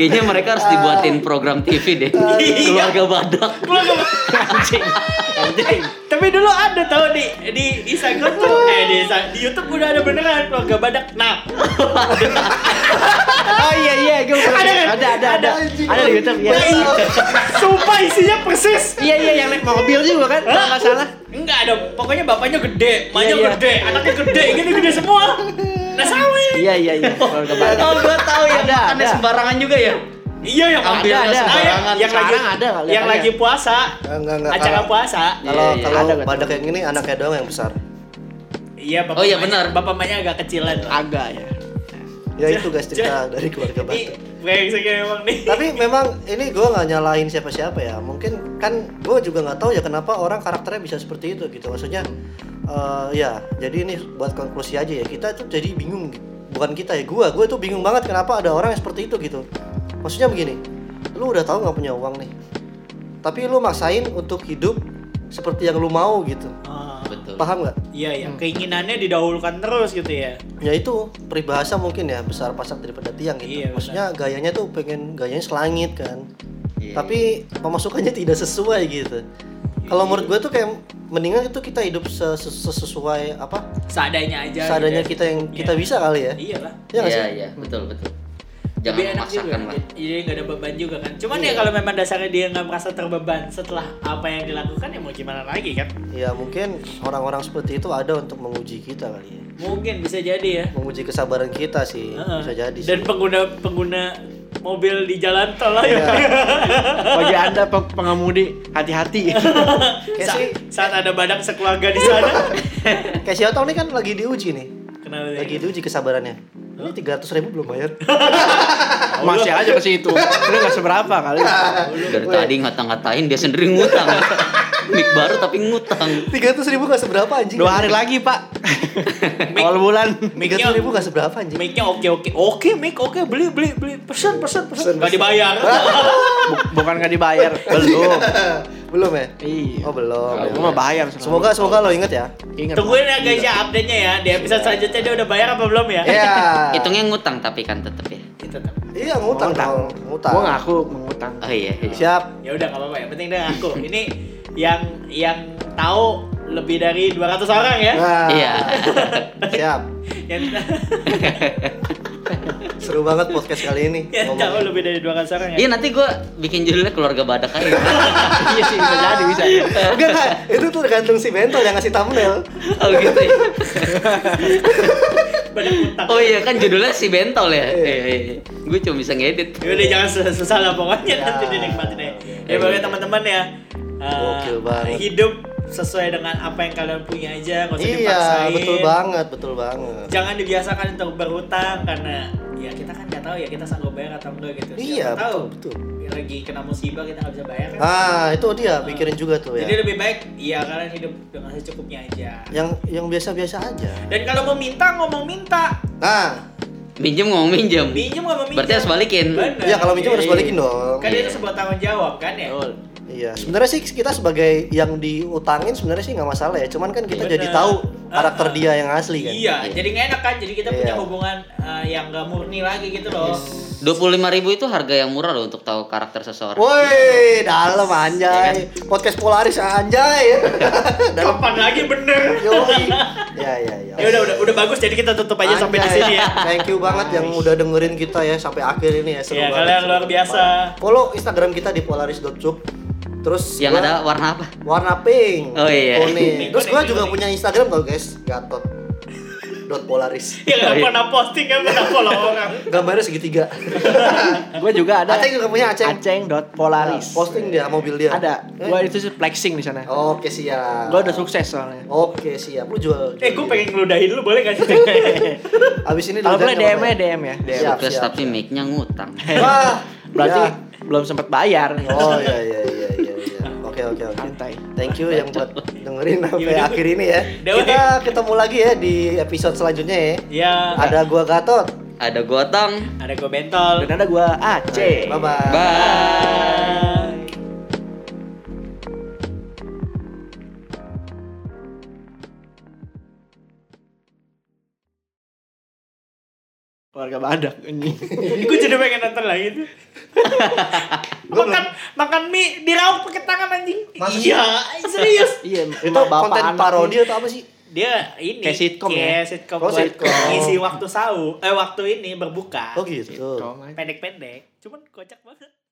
Speaker 1: Kayaknya mereka harus dibuatin program TV deh. Keluarga badak.
Speaker 3: keluarga Badak-
Speaker 1: Anjing. Anjing.
Speaker 3: tapi dulu ada tau di di Instagram tuh eh di, Insta- di YouTube udah ada beneran keluarga badak nah
Speaker 4: Oh iya iya gua
Speaker 3: Ada kan?
Speaker 4: ada ada ada.
Speaker 2: Anjing.
Speaker 4: Ada di YouTube ya.
Speaker 3: nah, i- sumpah isinya persis
Speaker 4: Iya iya yang naik mobil juga kan? Kalau nggak salah.
Speaker 3: Enggak ada, pokoknya bapaknya gede, emaknya
Speaker 4: Iya, iya.
Speaker 3: gede, anaknya gede, gini gede semua. Nah sama ini.
Speaker 4: Iya iya iya. Keluarga badak.
Speaker 1: Oh, gua tahu yang
Speaker 4: ya, kan Ada,
Speaker 1: makannya
Speaker 4: ada.
Speaker 1: sembarangan juga ya.
Speaker 3: Iya yang
Speaker 1: Ambilnya
Speaker 3: ada, ada.
Speaker 1: sembarangan.
Speaker 3: yang lagi
Speaker 4: Sekarang ada, lihat
Speaker 3: yang
Speaker 4: aja.
Speaker 3: lagi puasa.
Speaker 2: Enggak, enggak,
Speaker 3: acara
Speaker 2: kalau-
Speaker 3: puasa.
Speaker 2: Kalau
Speaker 1: Iya, iya.
Speaker 2: kalau
Speaker 4: Ada, betul.
Speaker 2: Badak yang ini anaknya doang yang besar.
Speaker 3: Iya bapak.
Speaker 1: Oh, iya,
Speaker 3: emaknya-
Speaker 1: benar.
Speaker 3: Bapak emaknya agak kecilan.
Speaker 4: Agak ya.
Speaker 2: Ya itu guys cerita
Speaker 3: Jadi-
Speaker 2: dari keluarga
Speaker 3: Jadi
Speaker 2: Badak.
Speaker 3: brengseknya ya emang nih.
Speaker 2: Tapi memang ini gue nggak nyalahin siapa-siapa ya. Mungkin kan gue juga nggak tahu ya kenapa orang karakternya bisa seperti itu gitu. Maksudnya eh, ya jadi ini buat konklusi aja ya kita tuh jadi bingung. Bukan kita ya gue, gue tuh bingung banget kenapa ada orang yang seperti itu gitu. Maksudnya begini, lu udah tahu nggak punya uang nih, tapi lu maksain untuk hidup seperti yang lu mau gitu.
Speaker 3: Ah,
Speaker 1: Betul.
Speaker 2: Paham nggak?
Speaker 3: Iya ya, keinginannya didahulukan terus gitu ya.
Speaker 2: Ya itu peribahasa mungkin ya besar pasak daripada tiang gitu.
Speaker 3: Iya, benar.
Speaker 2: Maksudnya gayanya tuh pengen gayanya selangit kan.
Speaker 1: Iya.
Speaker 2: Tapi pemasukannya tidak sesuai gitu. Kalau
Speaker 3: Iya.
Speaker 2: menurut gue tuh kayak mendingan itu kita hidup se- se- sesuai apa
Speaker 3: Seadanya aja.
Speaker 2: seadanya
Speaker 3: gitu
Speaker 2: kita yang
Speaker 3: Iya.
Speaker 2: kita bisa kali ya.
Speaker 3: Iya lah.
Speaker 2: Iya nggak
Speaker 1: Iya,
Speaker 2: sih? Iya.
Speaker 1: iya, betul, betul. Jangan
Speaker 3: Lebih enak juga.
Speaker 1: memaksakan lah.
Speaker 3: Jadi nggak ada beban juga kan. Cuman ya kalau memang dasarnya dia nggak merasa terbeban setelah apa yang dilakukan ya mau gimana lagi kan?
Speaker 2: Ya mungkin orang-orang seperti itu ada untuk menguji kita kali ya.
Speaker 3: Mungkin bisa jadi ya.
Speaker 2: Menguji kesabaran kita sih
Speaker 3: Heeh.
Speaker 2: bisa jadi.
Speaker 3: Dan
Speaker 2: sih.
Speaker 3: pengguna pengguna mobil di jalan tol lah ya.
Speaker 4: Bagi anda pe- pengemudi hati-hati.
Speaker 2: Kayak
Speaker 3: Sa-
Speaker 2: si-
Speaker 3: saat ada badak sekeluarga di sana. gitu?
Speaker 2: kayak si Otong ini kan lagi diuji nih.
Speaker 3: Kenal
Speaker 2: Lagi diuji kesabarannya. Ini 300 ribu belum bayar.
Speaker 4: Masih aja ke situ. Lu nggak seberapa kali.
Speaker 1: Dari tadi ngata-ngatain dia sendiri ngutang. Mic baru tapi ngutang.
Speaker 2: 300 ribu gak seberapa anjing.
Speaker 4: Dua hari lagi pak. Awal bulan.
Speaker 3: Mic-nya-
Speaker 2: 300 ribu gak seberapa anjing.
Speaker 3: Mic-nya oke oke. Oke mic oke beli beli beli pesan pesan
Speaker 2: Pesan,
Speaker 3: pesan.
Speaker 2: pesan.
Speaker 3: Gak dibayar.
Speaker 4: Bu- Bukan nggak dibayar. Belum.
Speaker 2: belum ya?
Speaker 4: Iya.
Speaker 2: Oh belum. Ya,
Speaker 4: Aku mah
Speaker 2: ya.
Speaker 4: bayar.
Speaker 2: Semoga semoga lo inget ya.
Speaker 4: Ingat.
Speaker 3: Tungguin ya guys ya update-nya ya. Di episode selanjutnya dia udah bayar apa belum ya?
Speaker 2: Iya.
Speaker 1: Hitungnya ngutang tapi kan tetap ya.
Speaker 3: Gitu tuh.
Speaker 2: Iya ngutang dong. Ngutang.
Speaker 4: Gua ngaku mengutang.
Speaker 1: Oh iya. iya.
Speaker 2: Siap.
Speaker 3: Ya udah nggak apa-apa ya. Penting dia ngaku. Ini yang yang tahu lebih dari 200 orang ya.
Speaker 2: Nah,
Speaker 1: Iya.
Speaker 2: Siap.
Speaker 3: Yang
Speaker 2: Seru banget podcast kali ini.
Speaker 3: yang
Speaker 2: Ngomongin.
Speaker 3: tahu Ya, lebih dari 200 orang ya.
Speaker 1: Iya nanti gue bikin judulnya keluarga badak aja.
Speaker 4: Iya sih bisa jadi bisa.
Speaker 2: Enggak, enggak. itu tuh tergantung si Bentol yang ngasih thumbnail.
Speaker 1: Oh gitu ya.
Speaker 3: Badak utang.
Speaker 1: Oh iya kan judulnya si Bentol ya. Iya iya. Gue cuma bisa ngedit.
Speaker 3: Ya udah jangan sus- susah lah pokoknya
Speaker 2: Ya.
Speaker 3: nanti dinikmatin aja.
Speaker 1: Ya,
Speaker 3: Ya pokoknya
Speaker 1: ya.
Speaker 3: teman-teman ya. eh,
Speaker 2: Gokil banget.
Speaker 3: Hidup sesuai dengan apa yang kalian punya aja, nggak usah
Speaker 2: Iya,
Speaker 3: dipaksain.
Speaker 2: betul banget, betul banget.
Speaker 3: Jangan dibiasakan untuk berhutang karena ya kita kan nggak tahu ya kita sanggup bayar atau enggak gitu. Siapa
Speaker 2: Iya,
Speaker 3: tahu.
Speaker 2: betul, betul.
Speaker 3: Ya, lagi kena musibah kita nggak bisa bayar kan.
Speaker 2: Ah, itu dia pikirin juga tuh
Speaker 3: Jadi
Speaker 2: ya.
Speaker 3: lebih baik ya kalian hidup dengan secukupnya aja.
Speaker 2: Yang yang biasa-biasa aja.
Speaker 3: Dan kalau mau minta ngomong minta.
Speaker 2: Nah,
Speaker 1: minjem ngomong minjem
Speaker 3: Pinjem nggak mau minjem?
Speaker 1: Berarti harus balikin.
Speaker 3: Benar.
Speaker 2: Iya, kalau minjem harus
Speaker 3: Iya, iya.
Speaker 2: balikin dong.
Speaker 3: Kan itu sebuah tanggung jawab kan ya.
Speaker 4: Betul.
Speaker 2: Iya, sebenarnya sih kita sebagai yang diutangin sebenarnya sih nggak masalah ya. Cuman kan kita
Speaker 3: Bener.
Speaker 2: jadi tahu karakter
Speaker 3: Ah, ah.
Speaker 2: dia yang asli kan.
Speaker 3: Iya, jadi nggak enak kan. Jadi kita punya
Speaker 2: Iya.
Speaker 3: hubungan eh, yang gak murni lagi gitu loh.
Speaker 1: dua ribu itu harga yang murah loh untuk tahu karakter seseorang
Speaker 2: Oh, Woi, dalam
Speaker 3: Iya kan?
Speaker 2: anjay. Podcast Polaris anjay. dalam
Speaker 3: Kapan lagi bener?
Speaker 2: yoi. Ya ya ya.
Speaker 3: Ya udah udah udah bagus. Jadi kita tutup aja sampai di
Speaker 2: Anjay.
Speaker 3: sini ya.
Speaker 2: Thank you banget yang udah dengerin kita ya sampai akhir ini ya. Seru
Speaker 3: Iya,
Speaker 2: banget.
Speaker 3: kalian luar biasa.
Speaker 2: Follow Instagram kita di polaris.cup. Terus
Speaker 1: yang
Speaker 2: gua-
Speaker 1: ada warna apa
Speaker 2: warna pink
Speaker 1: Oh, iya.
Speaker 2: kuning terus gua
Speaker 3: Kuning,
Speaker 2: juga
Speaker 3: kuning.
Speaker 2: punya instagram tau guys gatot dot polaris
Speaker 3: Ya nggak pernah posting, nggak pernah follow orang.
Speaker 2: gambarnya segitiga
Speaker 4: Gue juga ada.
Speaker 2: Aceng juga punya, Aceng. Nah,
Speaker 4: dot Polaris.
Speaker 2: posting dia Oh. mobil dia
Speaker 4: Ada.
Speaker 2: Eh.
Speaker 4: Gue itu sih flexing di sana.
Speaker 2: oke siap
Speaker 4: Gue udah sukses soalnya.
Speaker 2: oke siap lu jual
Speaker 3: Eh, gue
Speaker 2: jual
Speaker 3: pengen ngeludahin lu boleh gak sih?
Speaker 2: diri. abis ini Iya.
Speaker 4: Kalau boleh
Speaker 2: dilihat nggak apa-apa
Speaker 4: DM ya DM ya. DM.
Speaker 2: Siap,
Speaker 1: Sukses
Speaker 2: siap,
Speaker 1: tapi mic-nya ngutang
Speaker 2: wah
Speaker 4: Berarti
Speaker 2: ya.
Speaker 4: belum sempat bayar.
Speaker 2: oh iya iya iya iya iya. oke oke oke
Speaker 4: Santai.
Speaker 2: thank you yang buat dengerin sampai
Speaker 3: Yaudah.
Speaker 2: akhir ini ya kita
Speaker 3: Udah,
Speaker 2: ketemu lagi ya di episode selanjutnya ya
Speaker 3: ya,
Speaker 2: ada gua gatot
Speaker 1: ada gotong
Speaker 3: ada gue bentol.
Speaker 4: Dan ada gue Aceh.
Speaker 2: bye bye
Speaker 1: bye
Speaker 4: Warga Badak ini.
Speaker 3: gue jadi pengen nonton lagi tuh. makan makan mie dirauk pakai tangan anjing.
Speaker 2: Masa sih?
Speaker 3: Iya, serius.
Speaker 4: Iya,
Speaker 2: itu
Speaker 4: emang bapak
Speaker 2: konten
Speaker 4: anak
Speaker 2: parodi atau apa sih
Speaker 3: Dia ini
Speaker 4: Kayak sitcom ya?
Speaker 3: kayak sitcom
Speaker 2: Oh,
Speaker 3: buat
Speaker 2: sitcom.
Speaker 3: ngisi waktu sahur. Eh waktu ini berbuka.
Speaker 2: oh gitu
Speaker 4: Tolong aja.
Speaker 3: Pendek-pendek. Cuman kocak banget.